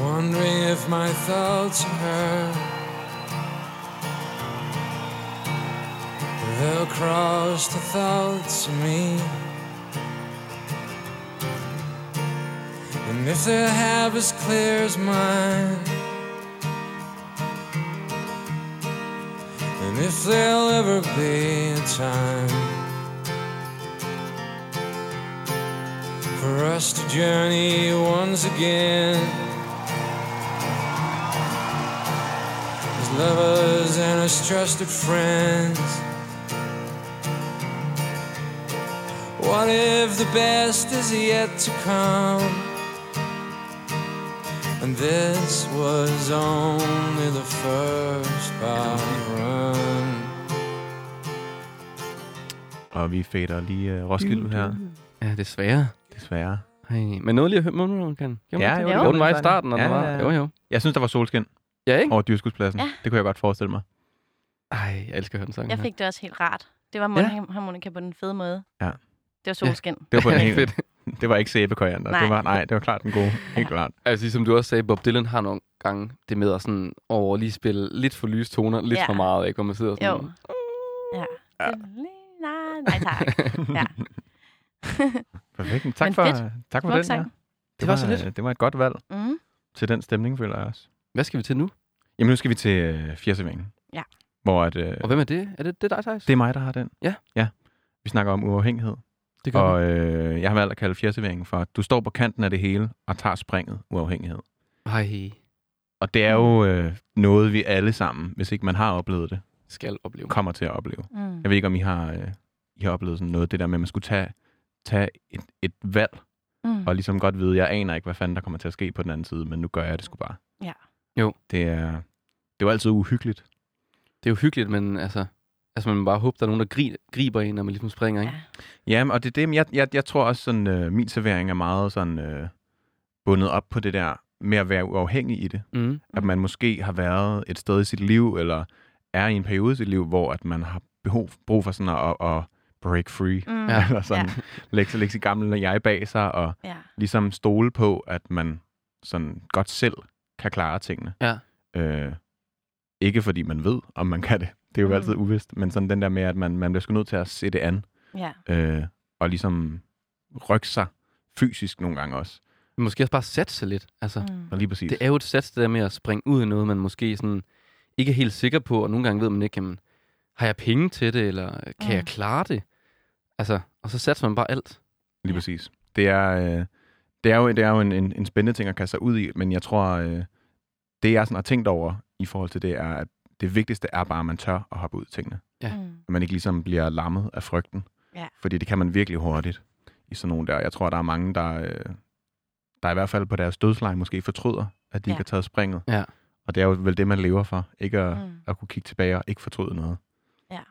Wondering if my thoughts are heard. They'll cross the thoughts of me. And if their have as clear as mine. And if there'll ever be a time for us to journey once again. as lovers and as trusted friends. What if the best is yet to come? And this was only the first part run. Og vi fader lige uh, Roskilde ud Mm. her, Ja, desværre. desværre. Hey, men noget lige at høre mundharmonikan. Gjorde man jo, ikke? det Jo, Jo, den var i sådan. starten, og den Ja, var... ja, ja. Jo, jo. Jeg synes, der var solskin Ja, ikke? over dyrskuespladsen. Ja. Det kunne jeg godt forestille mig. Ej, jeg elsker at høre den sang. Jeg her. fik det også helt rart. Det var mundharmonika på den fede måde. Ja. Det var solskin. Det var, på en Ja, helt, fedt. det var ikke sæbekoriander. Nej. Det var, nej, det var klart den gode. Helt klart. Altså, som du også sagde, Bob Dylan har nogle gange det med at sådan over lige spille lidt for lyse toner, lidt Ja. for meget, ikke? Hvor man sidder sådan... Jo. Ja. ja. Nej, nej tak. Ja. Perfekt. Men Tak Men for, fedt. tak for Smuk den. sang. Ja. Det var så lidt. Det var et godt valg Mm. til den stemning, føler jeg også. Hvad skal vi til nu? Jamen, nu skal vi til øh, fjerdsevingen. Ja. Hvor at, øh, Og hvem er det? Er det, det er dig, Thijs? det er mig, der har den. Ja. Ja. Vi snakker om uafhængighed. det vi. Og øh, jeg har valgt at kalde fjerdseveringen for, du står på kanten af det hele og tager springet uafhængighed. Ej, Og det er Mm. jo øh, noget, vi alle sammen, hvis ikke man har oplevet det, skal opleve. kommer til at opleve. Mm. Jeg ved ikke, om I har, øh, I har oplevet sådan noget, det der med, at man skulle tage, tage et, et valg, Mm. og ligesom godt vide, jeg aner ikke, hvad fanden der kommer til at ske på den anden side, men nu gør jeg det sgu bare. Ja. Jo. Det er, det er jo altid uhyggeligt. Det er jo hyggeligt, men altså... Altså, man må bare håbe, der er nogen, der gri- griber en, når man ligesom springer, ikke? Ja. Jamen, og det er det, men jeg, jeg, jeg tror også, sådan, øh, min servering er meget sådan, øh, bundet op på det der med at være uafhængig i det. Mm. at man måske har været et sted i sit liv, eller er i en periode i sit liv, hvor at man har behov, brug for sådan at, at, at break free, Mm. Ja. eller sådan, ja. lægge, sig- lægge sit gamle jeg bag sig, og ja. ligesom stole på, at man sådan godt selv kan klare tingene. Ja. Øh, ikke fordi man ved, om man kan det. Det er jo Mm. mm. altid uvist, men sådan den der med, at man, man bliver sgu nødt til at se det an, Ja. øh, og ligesom rykke sig fysisk nogle gange også. Men måske også bare sætte sig lidt. Altså, mm. Mm. Og lige præcis. det er jo et sats, det der med at springe ud i noget, man måske sådan ikke er helt sikker på, og nogle gange ved man ikke, jamen, har jeg penge til det, eller kan mm. Mm. jeg klare det? Altså, og så satser man bare alt. Lige Ja. ja. præcis. Det er, øh, det er jo, det er jo en, en, en spændende ting at kaste sig ud i, men jeg tror, øh, det jeg sådan har tænkt over i forhold til det, er, at det vigtigste er bare, at man tør at hoppe ud i tingene. Ja. Mm. At man ikke ligesom bliver lammet af frygten. Ja. Fordi det kan man virkelig hurtigt i sådan nogle der. Jeg tror, der er mange, der, øh, der i hvert fald på deres dødsleje måske fortryder, at de Ja. ikke har taget springet. Ja. Og det er jo vel det, man lever for. Ikke at, mm. Mm. at kunne kigge tilbage og ikke fortryde noget.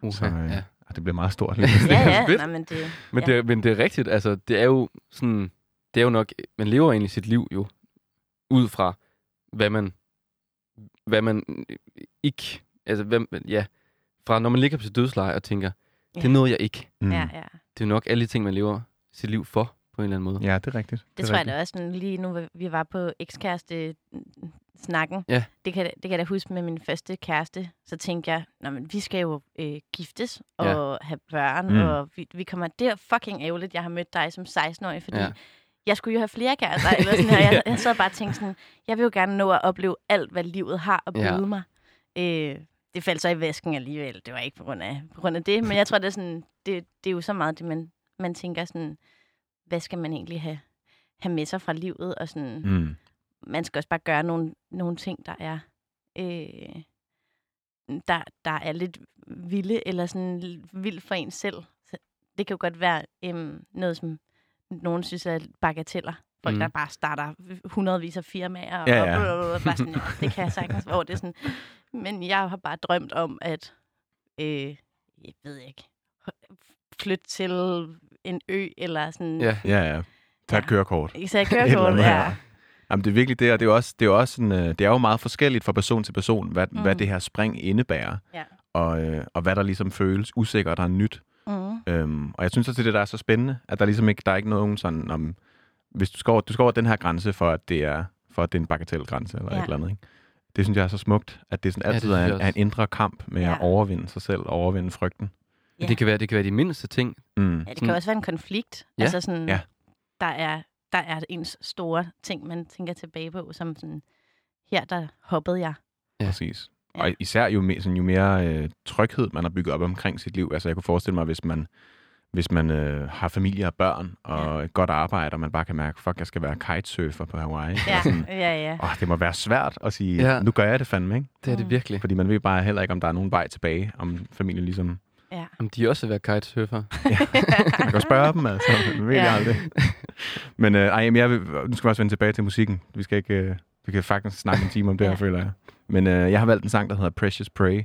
Uha, Så, øh, ja. Og det bliver meget stort. Lige. Ja, er ja. fedt. Nej, men det, Men, Ja. det, er- men det er rigtigt, altså det er jo sådan, det er jo nok, man lever egentlig sit liv jo, ud fra, hvad man, hvad man øh, ikke, altså hvad, man- ja, fra når man ligger på sit dødsleje og tænker, ja. Ja. det nåede jeg ikke. Mm. ja, ja. Det er jo nok alle de ting, man lever sit liv for, på en eller anden måde. ja, det er rigtigt. Det tror jeg rigtigt. da også, sådan lige nu vi var på ekskæreste mm, snakken. Ja. Det, kan, jeg da- det kan jeg da huske med min første kæreste. Så tænkte jeg, Nå, men vi skal jo øh, giftes og Ja. have børn, Mm. mm. og vi, vi kommer... Det er fucking ærgerligt, jeg har mødt dig som 16-årig, fordi Ja. ja. jeg skulle jo have flere kærester. Eller sådan, her. jeg, jeg sad bare og tænkte sådan, jeg vil jo gerne nå at opleve alt, hvad livet har at byde Ja. ja. mig. Øh, det faldt så i væsken alligevel. Det var ikke på grund af, på grund af det, men jeg tror, det er, sådan, det, det er jo så meget det, man, man tænker sådan, hvad skal man egentlig have, have med sig fra livet, og sådan... Mm Mm. man skal også bare gøre nogle, nogle ting, der er, øh, der, der er lidt vilde, eller sådan l- vild for en selv. Så det kan jo godt være øh, noget, som nogen synes er bagateller. Folk, Mm. mm. der bare starter hundredvis af firmaer, og, Ja, ja, ja. ja. Og, og, og bare sådan, det kan jeg sagtens, hvor det er sådan. Men jeg har bare drømt om, at, øh, jeg ved ikke, flytte til en ø, eller sådan. Ja. Ja, ja. Tag et Ja. kørekort. Så jeg Et kører eller kort, andet, ja. ja. Jamen, det er virkelig det, og det er jo også, det er jo også sådan, øh, det er jo meget forskelligt fra person til person, hvad, mm. hvad Mm. det her spring indebærer, Ja. og, øh, og hvad der ligesom føles usikkert og nyt. Mm. Øhm, og jeg synes også, det er det, der er så spændende, at der ligesom ikke, der er ikke nogen sådan, om, hvis du skal, over, du skal over den her grænse, for at det er, for at det er en bagatelgrænse eller ja. Ja. et eller andet, ikke? Det synes jeg er så smukt, at det sådan Ja, det altid synes er, jeg en, også. er en indre kamp med ja. Ja. at overvinde sig selv og overvinde frygten. Ja. Det, kan være, det kan være de mindste ting. Mm. Ja, det Sådan- kan jo også være en konflikt. Ja, Ja. Altså sådan, ja. ja. der, er, der er ens store ting, man tænker tilbage på, som sådan, her der hoppede jeg. Ja. Præcis. Ja. Og især jo, me, sådan, jo mere øh, tryghed, man har bygget op omkring sit liv. Altså jeg kunne forestille mig, hvis man, hvis man øh, har familie og børn og et godt arbejde, og man bare kan mærke, fuck, jeg skal være kitesurfer på Hawaii. Ja, Eller sådan, ja, ja. Åh, det må være svært at sige, Ja. ja. nu gør jeg det fandme, ikke? Det er det Mm. virkelig. Fordi man ved bare heller ikke, om der er nogen vej tilbage, om familien ligesom... Man ja. Om de også vil være kitesurfer. kan jo spørge dem, altså. Man ved ja. Ja. aldrig. Men øh, ej, men jeg vil, nu skal vi også vende tilbage til musikken. Vi skal ikke... Øh, vi kan faktisk snakke en time om det her, Ja. føler jeg. Men øh, jeg har valgt en sang, der hedder Precious Prey,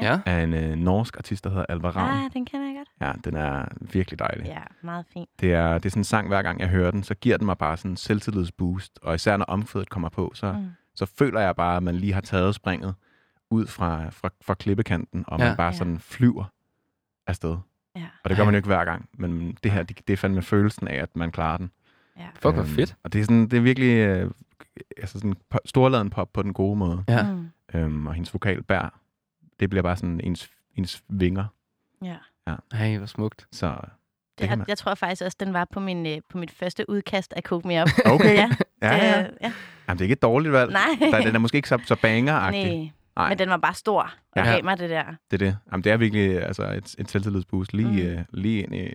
Ja. af en øh, norsk artist, der hedder Alvar Ravn. Ah, den kender jeg godt. Ja, den er virkelig dejlig. Ja, meget fint. Det, er, det er sådan en sang, hver gang jeg hører den, så giver den mig bare sådan en selvtillidsboost. Og især når omkvædet kommer på, så, mm. Mm. så føler jeg bare, at man lige har taget springet ud fra, fra, fra klippekanten, og ja. Ja. man bare Ja. sådan flyver afsted. Ja. Og det gør man jo ikke hver gang, men det her, det, det er fandme følelsen af, at man klarer den. Øhm, Ja. Fuck, hvor fedt. Og det er, sådan, det er virkelig øh, altså sådan po- storladen pop på den gode måde. Ja. Mm. Øhm, og hendes vokal bær, det bliver bare sådan ens, ens vinger. ja. Ej, hvor smukt. Så Det, kan jeg, man. jeg tror faktisk også, den var på, min, øh, på mit første udkast af Cook Me Up. Okay. ja, ja, det, ja. ja. Jamen, det er ikke et dårligt valg. Nej. Der, den er måske ikke så, så banger-agtig. Nej. Nej, Men den var bare stor og Ja. gav mig det der. det er det. Jamen, det er virkelig altså, et, et selvtillidsboost lige, mm. øh, lige ind i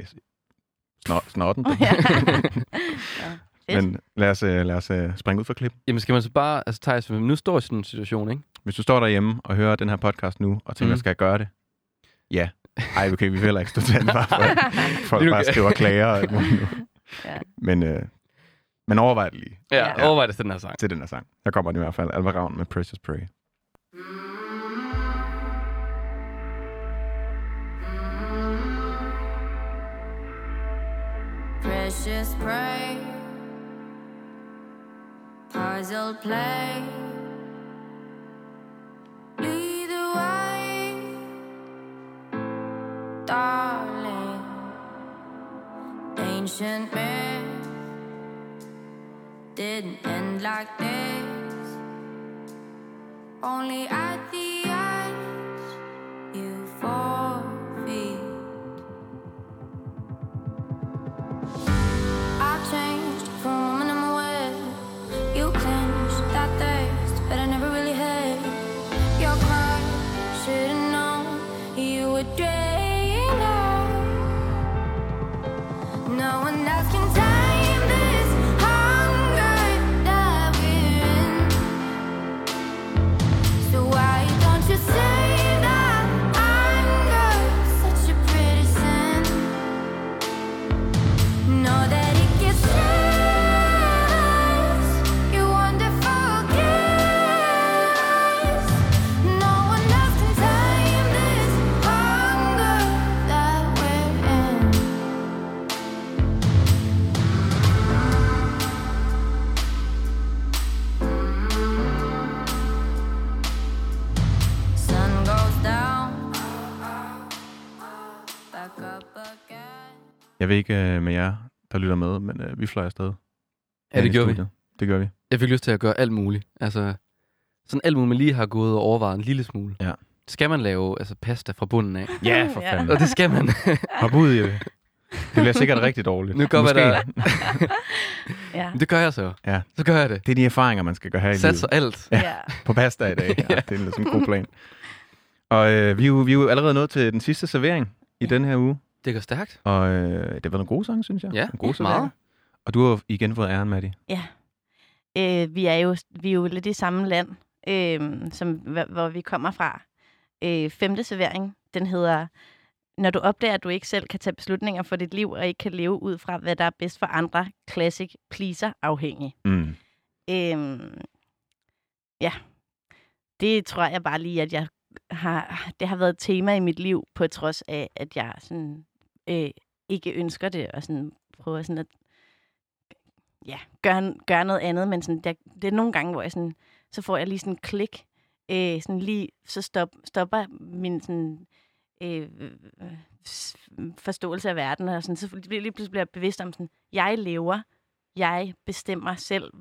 snor, snorten. Ja. Fedt. Men lad os, øh, lad os øh, springe ud for klip. Jamen skal man så bare, altså Thijs, nu står jeg i sådan en situation, ikke? Hvis du står derhjemme og hører den her podcast nu, og tænker, Mm. mm. skal jeg gøre det? Ja. Ej, okay, vi vil heller ikke stå til ansvar for, at folk Lige nu bare kan- skriver klager og alt muligt nu. Ja. Men, øh, men overvej det lige Ja, Ja. overvej det til den her sang. til den her sang. Der kommer den i hvert fald. Alvar Ravn med Precious Prey. precious prey. Puzzle play. Either way, darling. Ancient myth didn't end like this. Only at the end, you forfeit. I changed from a woman I'm aware. You clinched that thirst, but I never really had. Your cry should've known you were draining. No one else can tame this hunger that we're in. So why don't you say that anger is such a pretty sin? Know that it gets worse. Your wonderful kiss. No one else can tame this hunger that we're in. Sun goes down. Back up again. Jeg ved ikke øh, med jer, der lytter med, men øh, vi fløj afsted. Ja, Her i det gjorde vi. studiet. Det gør vi. Jeg fik lyst til at gøre alt muligt. Altså, Sådan alt muligt, man lige har gået og overvejet en lille smule. Ja. Skal man lave altså, pasta fra bunden af? Ja, for Ja. fanden. Og det skal man. Hop ud i det. Det bliver sikkert rigtig dårligt. Nu går, hvad Måske. der... Ja. Det gør jeg så. Ja. Så gør jeg det. Det er de erfaringer, man skal gøre her i livet. Satser alt. ja. på pasta i dag. Ja, det er ligesom en god plan. Og øh, vi, er jo, vi er jo allerede nået til den sidste servering i den her uge. Det går stærkt. Og øh, det har været nogle gode sange, synes jeg. Ja, nogle gode meget. serveringer. Og du har jo igen fået æren, Maddie. Øh, vi, er jo, vi er jo lidt i samme land, øh, som, hv- hvor vi kommer fra. Øh, femte servering, den hedder, når du opdager, at du ikke selv kan tage beslutninger for dit liv, og ikke kan leve ud fra, hvad der er bedst for andre, classic pleaser afhængig. Mm. Øh, ja, det tror jeg bare lige, at jeg har, det har været et tema i mit liv, på trods af, at jeg sådan, øh, ikke ønsker det, og sådan prøver sådan at ja, gøre, gøre noget andet, men sådan, der, det er nogle gange, hvor jeg sådan, så får jeg lige sådan en klik, øh, sådan lige, så stop, stopper min sådan, øh, øh, s- forståelse af verden, og sådan, så bliver lige pludselig bliver jeg bevidst om sådan, jeg lever, jeg bestemmer selv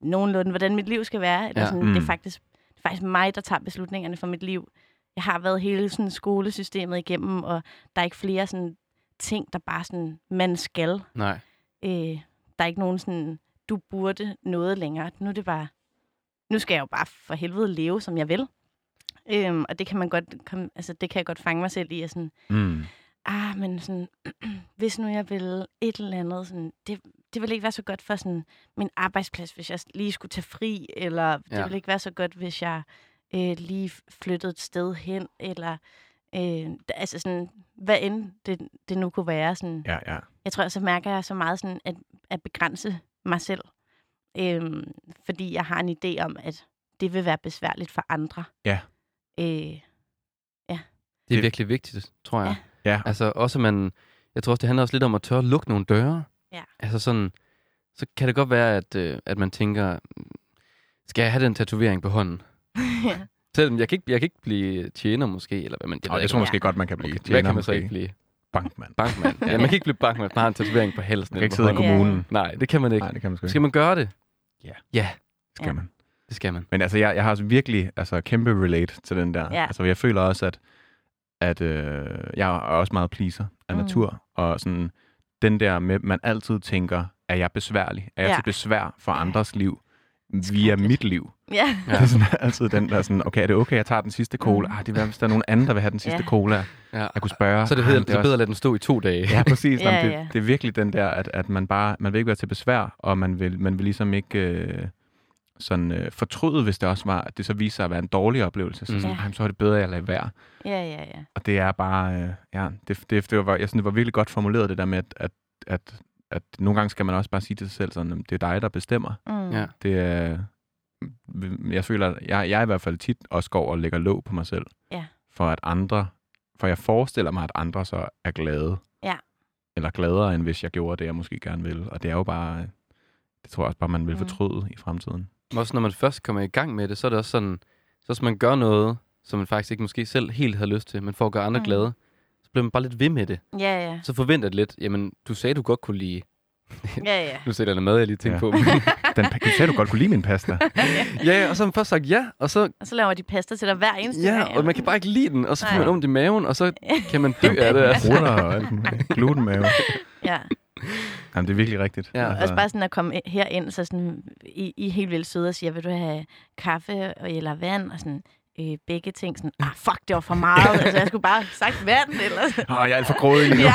nogenlunde, hvordan mit liv skal være, eller Ja. ja. sådan, mm. Mm. det, er faktisk, det er faktisk mig, der tager beslutningerne for mit liv. Jeg har været hele sådan, skolesystemet igennem, og der er ikke flere sådan, ting, der bare sådan, man skal Nej. øh, der er ikke nogen sådan, du burde noget længere. Nu er det bare, nu skal jeg jo bare for helvede leve, som jeg vil. Øhm, og det kan man godt, komme, altså det kan jeg godt fange mig selv i, at sådan, Mm. ah, men sådan, hvis nu jeg ville et eller andet, sådan, det, det ville ikke være så godt for sådan, min arbejdsplads, hvis jeg lige skulle tage fri, eller det Ja. ville ikke være så godt, hvis jeg øh, lige flyttede et sted hen, eller øh, altså sådan, hvad end det, det nu kunne være. Sådan, Ja, ja. jeg tror, så mærker jeg så meget sådan at, at begrænse mig selv. Øhm, fordi jeg har en idé om, at det vil være besværligt for andre. Ja. Øh, Det er Det- virkelig vigtigt, tror jeg. Ja, Altså også man, jeg tror også, det handler også lidt om at tør lukke nogle døre. Ja. Altså sådan, så kan det godt være, at, øh, at man tænker, "Mm, skal jeg have den tatovering på hånden? ja. Selvom jeg kan ikke, jeg kan ikke blive tjener måske, eller hvad man, og jeg tror måske godt, man kan blive. okay, tjener hvad kan man så måske. ikke blive? Bankmand. Bankmand. ja, man kan ikke blive bankmand, hvis man har en tatovering på halsen. Man kan ikke eller sidde i på hånden. Ja. kommunen. Nej, det kan man ikke. Nej, det kan man sgu Skal ikke. man gøre det? Ja. Ja, Skal man. det skal man. Men altså, jeg, jeg har altså virkelig altså, kæmpe relate til den der. Ja. Altså, jeg føler også, at, at øh, jeg er også meget pleaser af Mm. natur. Og sådan den der med, man altid tænker, er jeg besværlig? Er jeg Ja. til besvær for andres liv? Via mit liv. ja. Ja. Det er sådan, altid den der sådan, okay, er det okay, jeg tager den sidste cola? Mm. Ah, det er, hvis der er nogen anden, der vil have den sidste Ja. cola, Ja. jeg kunne spørge. Så er det, Ah, bedre, men det er også- bedre at lade den stå i to dage. Ja, præcis. Ja, Jamen, det, ja. det er virkelig den der, at, at man bare man vil ikke være til besvær, og man vil, man vil ligesom ikke øh, sådan, øh, fortryde, hvis det også var, at det så viser sig at være en dårlig oplevelse. Så, Mm. mm. sådan, Ja. "Ej, så er det bedre, at jeg lader være. ja, ja, ja. Og det er bare, øh, ja, det, det, det var, jeg synes, det var virkelig godt formuleret, det der med, at, at, at, at nogle gange skal man også bare sige til sig selv, sådan, "Jamen, det er dig, der bestemmer. Mm. Ja. Det er, mm, jeg føler, at jeg, jeg i hvert fald tit også går og lægger låg på mig selv. Ja. For at andre, for jeg forestiller mig, at andre så er glade. Ja. Eller gladere, end hvis jeg gjorde det, jeg måske gerne vil. Og det er jo bare, det tror jeg også bare, man vil Mm. fortryde i fremtiden. Men også når man først kommer i gang med det, så er det også sådan, så hvis man gør noget, som man faktisk ikke måske selv helt havde lyst til, men for at gøre andre Mm. glade, så bliver man bare lidt ved med det. Ja, ja. Så forventer det lidt, jamen, du sagde, du godt kunne lide... Ja, ja. Nu sætter jeg noget mad, jeg lige tænkte Ja. ja. på. Den, du sagde, du godt kunne lide min pasta. ja, og så har man først sagt ja, og så... Og så laver de pasta til dig hver eneste Ja, dag. og man kan bare ikke lide den, og så får Nej. man ondt i maven, og så kan man dø af det. Altså. Ruller og alt muligt. Glutenmave. Ja. Jamen, det er virkelig rigtigt. Altså, Ja, Også bare sådan at komme herind, så sådan, I, I er helt vildt søde og siger, vil du have kaffe og- eller vand? Og sådan, øh, begge ting sådan, ah, fuck, det var for meget. altså, jeg skulle bare have sagt vand, eller sådan. Åh, jeg er alt for grådig lige nu. ja.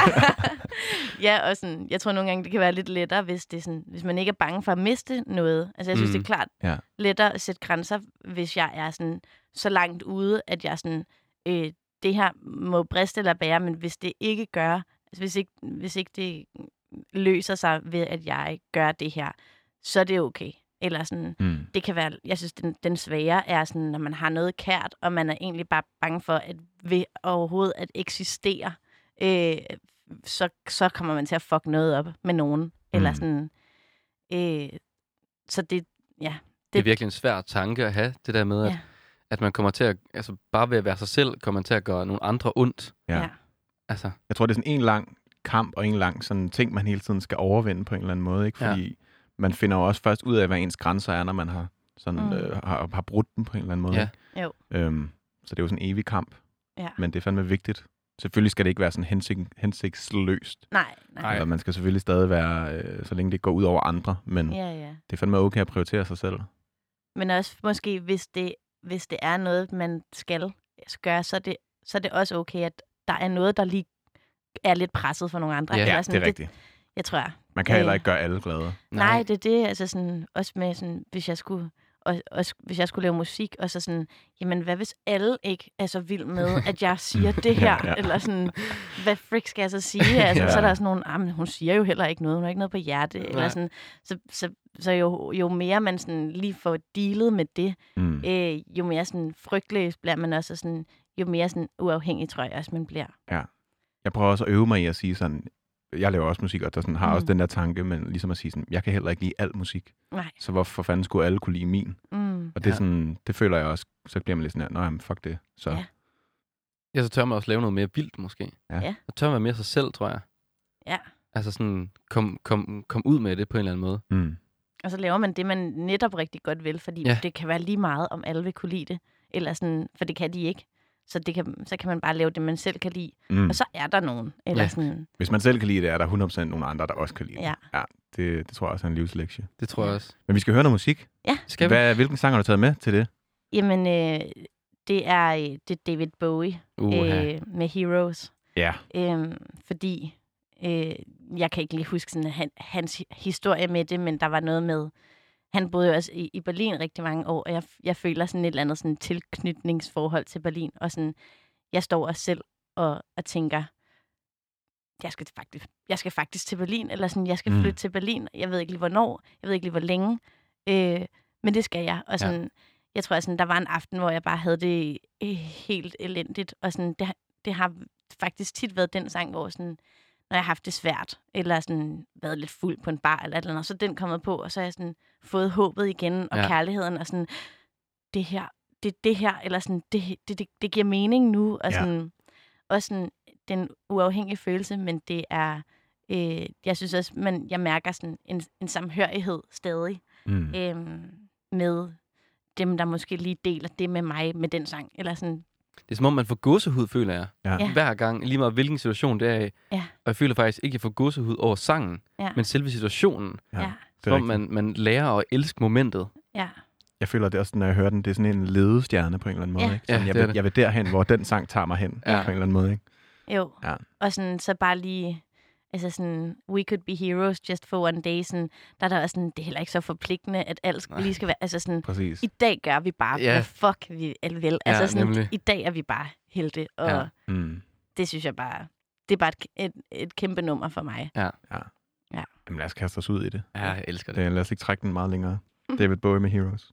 ja, og sådan, jeg tror nogle gange, det kan være lidt lettere, hvis, det er sådan, hvis man ikke er bange for at miste noget. Altså, jeg synes, Mm. mm. det er klart Ja. lettere at sætte grænser, hvis jeg er sådan, så langt ude, at jeg sådan, øh, det her må briste eller bære, men hvis det ikke gør, altså, hvis, ikke, hvis ikke det løser sig ved, at jeg gør det her, så er det okay. Eller sådan, Mm. det kan være, jeg synes, den, den svære er sådan, når man har noget kært, og man er egentlig bare bange for, at ved overhovedet at eksistere, øh, så, så kommer man til at fuck noget op med nogen. Mm. Eller Mm. sådan, øh, så det, Det er virkelig en svær tanke at have, det der med, at, Ja. ja. at man kommer til at... Altså, bare ved at være sig selv, kommer man til at gøre nogle andre ondt. Ja. ja. Altså, Jeg tror, det er sådan en lang kamp og en lang sådan ting, man hele tiden skal overvinde på en eller anden måde. Ikke? Ja. Fordi man finder jo også først ud af, hvad ens grænser er, når man har sådan, Mm. mm. øh, har, har brudt den på en eller anden måde. Ja. ikke? Jo. Øhm, så det er jo sådan en evig kamp, Ja. men det er fandme vigtigt. Selvfølgelig skal det ikke være sådan hensigt, hensigtsløst. Nej, nej. Eller man skal selvfølgelig stadig være, øh, så længe det ikke går ud over andre, men Ja, ja. det er fandme okay at prioritere sig selv. Men også måske, hvis det, hvis det er noget, man skal gøre, så er, det, så er det også okay, at der er noget, der lige er lidt presset for nogle andre. Ja, Eller det er rigtigt. Jeg tror, jeg. Man kan Ja, heller ja. ikke gøre alle glade. Nej. nej, det er det. Altså sådan, også med, sådan, hvis jeg skulle og, også, hvis jeg skulle lave musik, og så sådan, jamen hvad hvis alle ikke er så vild med, at jeg siger det her, Ja, ja, ja. ja. eller sådan, hvad frik skal jeg så sige? Altså, Ja. ja. Så er der sådan nogle, ah, men hun siger jo heller ikke noget, hun har ikke noget på hjerte, Nej. Nej. eller sådan, så, så, så jo, jo mere man sådan lige får dealet med det, Mm. øh, jo mere sådan frygtløs bliver man også, og sådan, jo mere sådan uafhængig, tror jeg også, man bliver. Jeg prøver også at øve mig i at sige sådan, jeg laver også musik, og der sådan, har mm. Mm. også den der tanke, men ligesom at sige sådan, jeg kan heller ikke lide al musik, Nej. så hvorfor fanden skulle alle kunne lide min? Mm. Og det, er Ja. sådan, det føler jeg også, så bliver man lidt sådan her, nå jamen, fuck det. Så ja. Ja. Ja, så tør man også lave noget mere vildt, måske. Ja. Ja. Så tør man være mere sig selv, tror jeg. Ja. Altså sådan, kom, kom, kom ud med det på en eller anden måde. Mm. Og så laver man det, man netop rigtig godt vil, fordi Ja. ja. det kan være lige meget, om alle vil kunne lide det. Eller sådan, for det kan de ikke. Så, det kan, så kan man bare lave det, man selv kan lide. Mm. Mm. Og så er der nogen. Ja. Eller ja. sådan, Hvis man selv kan lide det, er der 100% nogle andre, der også kan lide Ja. det. Ja, det, det tror jeg også er en livslektie. Det tror jeg også. Men vi skal høre noget musik. Skal vi? Hvad, hvilken sang har du taget med til det? jamen, øh, det er øh, det er David Bowie Uha. øh, med Heroes. Ja. Øh, fordi, øh, jeg kan ikke lige huske sådan, han, hans hi- historie med det, men der var noget med, han boede jo også i, i Berlin rigtig mange år, og jeg, jeg føler sådan et eller andet sådan tilknytningsforhold til Berlin, og sådan, jeg står også selv og, og tænker, jeg skal, faktisk, jeg skal faktisk til Berlin, eller sådan, jeg skal Mm. flytte til Berlin, jeg ved ikke lige hvornår, jeg ved ikke lige hvor længe, øh, men det skal jeg, og sådan, ja. jeg tror sådan, der var en aften, hvor jeg bare havde det øh, helt elendigt, og sådan, det, har- det har faktisk tit været den sang, hvor sådan, når jeg har haft det svært, eller sådan været lidt fuld på en bar, eller et eller andet, så er den kommet på, og så har jeg sådan fået håbet igen, og Ja. ja. kærligheden, og sådan, det her, det, det her, eller sådan, det, det, det, det giver mening nu, og Ja. sådan, og sådan den uafhængige følelse, men det er, øh, jeg synes også, man, jeg mærker sådan en, en samhørighed stadig, Mm. øh, med dem, der måske lige deler det med mig, med den sang, eller sådan, Det er som om, man får gåsehud, føler jeg. Ja. Ja. Hver gang, lige meget hvilken situation det er i. Ja. Og jeg føler faktisk ikke, at jeg får gåsehud over sangen, ja, men selve situationen. Ja, ja, ja, Det Som er om rigtigt. man, man lærer at elske momentet. ja, Jeg føler det også, når jeg hører den, det er sådan en ledestjerne på en eller anden måde. Ja. Ikke? Sådan, Ja, jeg, det er vil, det. jeg vil derhen, hvor den sang tager mig hen, ja. Ja. på en eller anden måde. Ikke? jo. Ja. Og sådan, så bare lige, altså sådan, we could be heroes just for one day, sådan, der er der også sådan, det er heller ikke så forpligtende, at alt skal- Nej. lige skal være, altså sådan, Præcis. i dag gør vi bare, Ja. yeah. hvad fuck vi al- vel. Ja, Altså sådan, nemlig. i dag er vi bare helte, og Ja. ja. Mm. det synes jeg bare, det er bare et, et, et kæmpe nummer for mig. Jamen lad os kaste os ud i det. Ja, jeg elsker det. det lad os ikke trække den meget længere. Mhm. David Bowie med Heroes.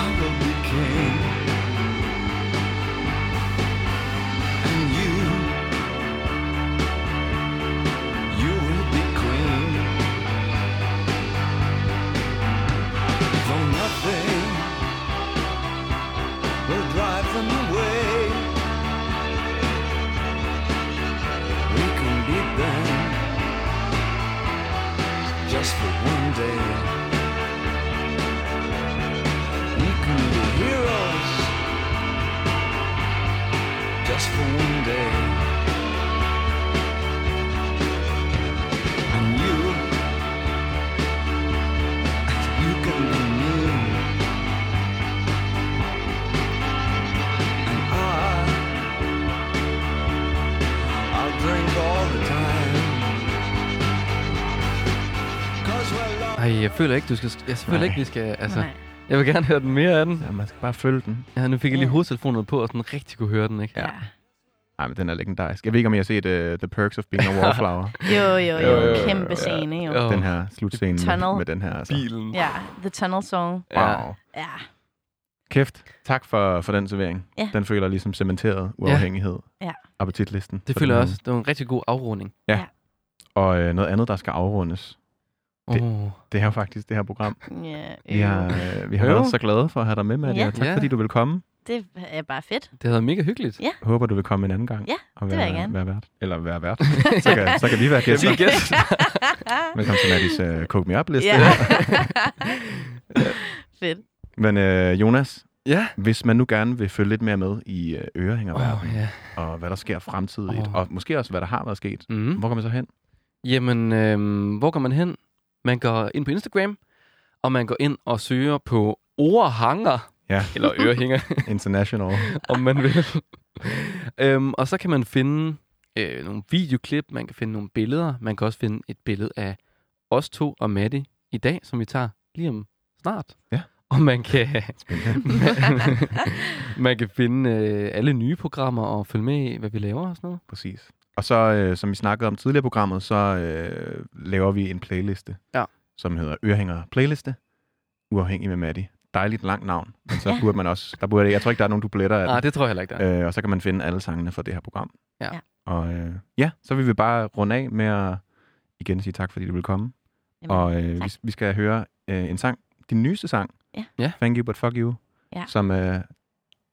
I will be king. And you, you will be queen. For nothing will drive them away. We can beat them just for one day. We can be heroes just for one day. And you, you can be me. And I, I drink all the time. Cause we're loved. Ej, jeg føler ikke, du skal... Jeg føler Nej. ikke, vi skal... Altså, Nej. jeg vil gerne høre den mere af den. Ja, man skal bare følge den. Ja, nu fik jeg lige Ja. hovedtelefonerne på, og sådan rigtig kunne høre den, ikke? Ja. Nej, men den er legendarisk. Jeg ved ikke, om I har set uh, The Perks of Being a Wallflower. Jo, jo, Jo, jo, jo, jo, kæmpe ja. scene, jo. Åh, den her slutscene med, Tunnel. med den her. Altså. Bilen. Ja, The Tunnel Song. Wow. Ja. Ja, Kæft. Tak for, for den servering. Ja. Den føler ligesom cementeret uafhængighed. Ja. Appetitlisten. Det på føler den jeg måde. også. Det var en rigtig god afrunding. Og øh, noget andet, der skal afrundes, Åh. det er jo faktisk det her program. Ja, Vi har, øh, vi har Øv. været så glade for at have dig med, Madia. Ja. Tak Ja. fordi du vil komme. det er bare fedt. Det havde været mega hyggeligt. Ja. Jeg håber, du vil komme en anden gang. Ja, og det være, vil jeg gerne. Være vært. Eller være vært. så, kan, så kan vi være gæster. Vi gæster. Velkommen til Madis uh, Cook Me Up-liste. Ja. Ja. fedt. Men øh, Jonas, Ja. hvis man nu gerne vil følge lidt mere med i øh, ørehængerverdenen, Åh, ja. og hvad der sker fremtidigt, Åh. og måske også, hvad der har været sket, Mm. hvor kan man så hen? Jamen, øhm, hvor går man hen? Man går ind på Instagram, og man går ind og søger på orhanger, Ja. eller ørehænger, International. om man vil. øhm, og så kan man finde øh, nogle videoklip, man kan finde nogle billeder. Man kan også finde et billede af os to og Matti i dag, som vi tager lige om snart. Ja. Og man kan, man kan finde øh, alle nye programmer og følge med i, hvad vi laver og sådan noget. Præcis. Og så, øh, som vi snakkede om tidligere i programmet, så øh, laver vi en playliste, Ja. som hedder Ørehænger Playliste, uafhængig med Matti. Dejligt langt navn, men så Ja. burde man også, der burde, jeg tror ikke, der er nogen dubletter af Nej, den. Ah, det tror jeg heller ikke, der er. Øh, og så kan man finde alle sangene fra det her program. Ja. Ja. Og øh, ja, så vil vi bare runde af med at igen sige tak, fordi du vil komme. Jamen, Og øh, tak. vi, vi skal høre øh, en sang, din nyeste sang, Ja. Ja. Thank You But Fuck You, Ja. som øh,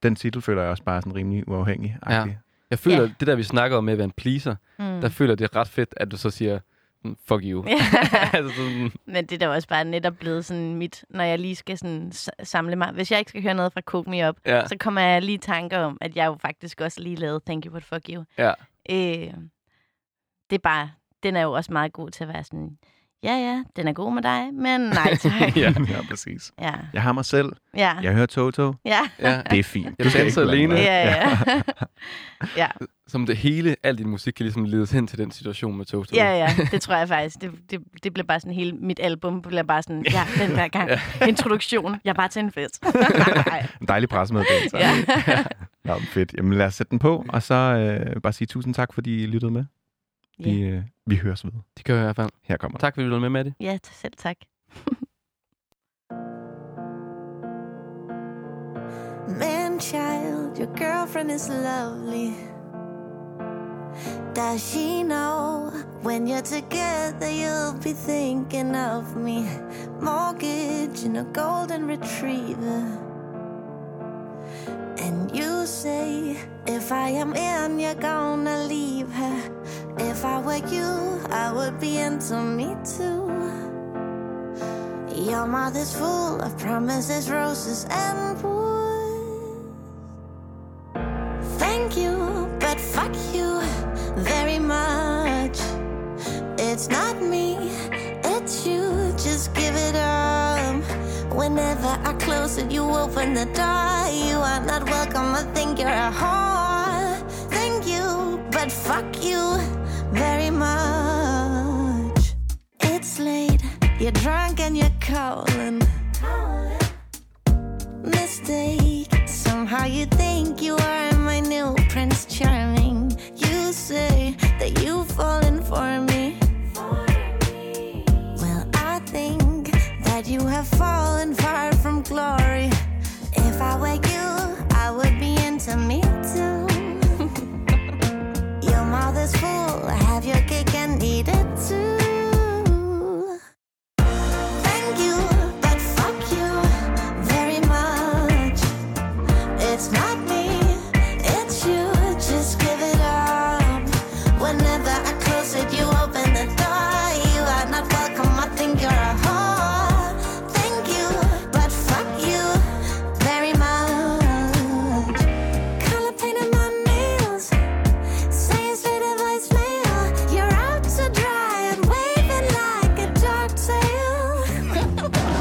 den titel føler jeg også bare er sådan rimelig uafhængig. Ja. Jeg føler, Ja. det der, vi snakker om med at være en pleaser, Mm. der føler jeg, det er ret fedt, at du så siger, mm, fuck you. altså sådan, Men det er da også bare netop blevet sådan mit, når jeg lige skal sådan s- samle mig. Hvis jeg ikke skal høre noget fra Cook Me Up, ja, så kommer jeg lige i tanker om, at jeg jo faktisk også lige lavede Thank You But Fuck You. ja. Øh, det er bare, den er jo også meget god til at være sådan, ja ja, den er god med dig, men nej tak. ja. ja, præcis. ja. Jeg har mig selv, ja. jeg hører Toto, Ja, ja. det er fint. Jeg Du skal danser ikke alene. blande dig. ja, ja. ja, Som det hele, al din musik kan ligesom ledes hen til den situation med Toto. ja, ja, det tror jeg faktisk. Det, det, det bliver bare sådan hele, mit album bliver bare sådan, ja, den der gang, introduktion, jeg er bare til en fest. Nej. En dejlig pressemeddelelse. ja. Nå, men fedt. Jamen lad os sætte den på, og så øh, bare sige tusind tak, fordi I lyttede med. Vi, øh, vi høres ved. Det gør jeg i hvert fald. Her kommer Tak fordi du var med, Maddie. ja, t- selv tak. Man child, your girlfriend is lovely. Does she know when you're together you'll be thinking of me? Mortgage and a golden retriever. And you say, if I am in, you're gonna leave her. If I were you, I would be into me too. Your mouth is full of promises, roses, and wood. Thank you, but fuck you very much. It's not me, it's you. Just give it up. Whenever I close it, you open the door. You are not welcome. I think you're a whore. Thank you, but fuck you very much. It's late, you're drunk and you're calling. Mistake, somehow you think you are my new Prince Charming. You say that you've fallen for me. Well, I think that you have fallen far from glory. If I were you, I would be into me too. Your mouth is full, have your cake and eat it too. Thank you, but fuck you very much. It's not me, it's you, just give it up. Whenever I close it, you open the door. You are not welcome, I think you're a whore. Thank you, but fuck you very much. Color painted my nails. Saying straight a voicemail. You're out to dry and waving like a dark tail.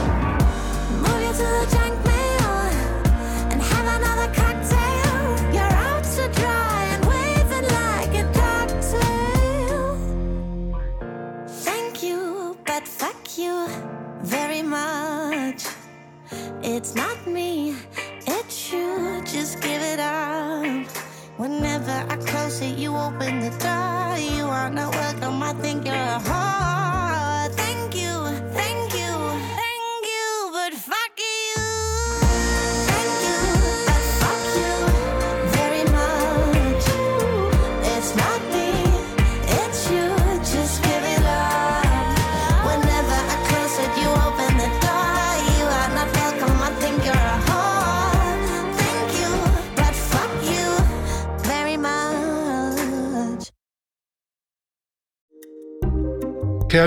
Move you to the junk mail and have another cocktail. You're out to dry and waving like a dark tail. Thank you, but fuck you very much. It's not me, it's you. Just give it up. Whenever I close it, you open the door. You are not welcome. I think you're a whore. Thank you, thank you, thank you, but fuck you. Thank you, but fuck you very much. It's not me, it's you. Just give it Kære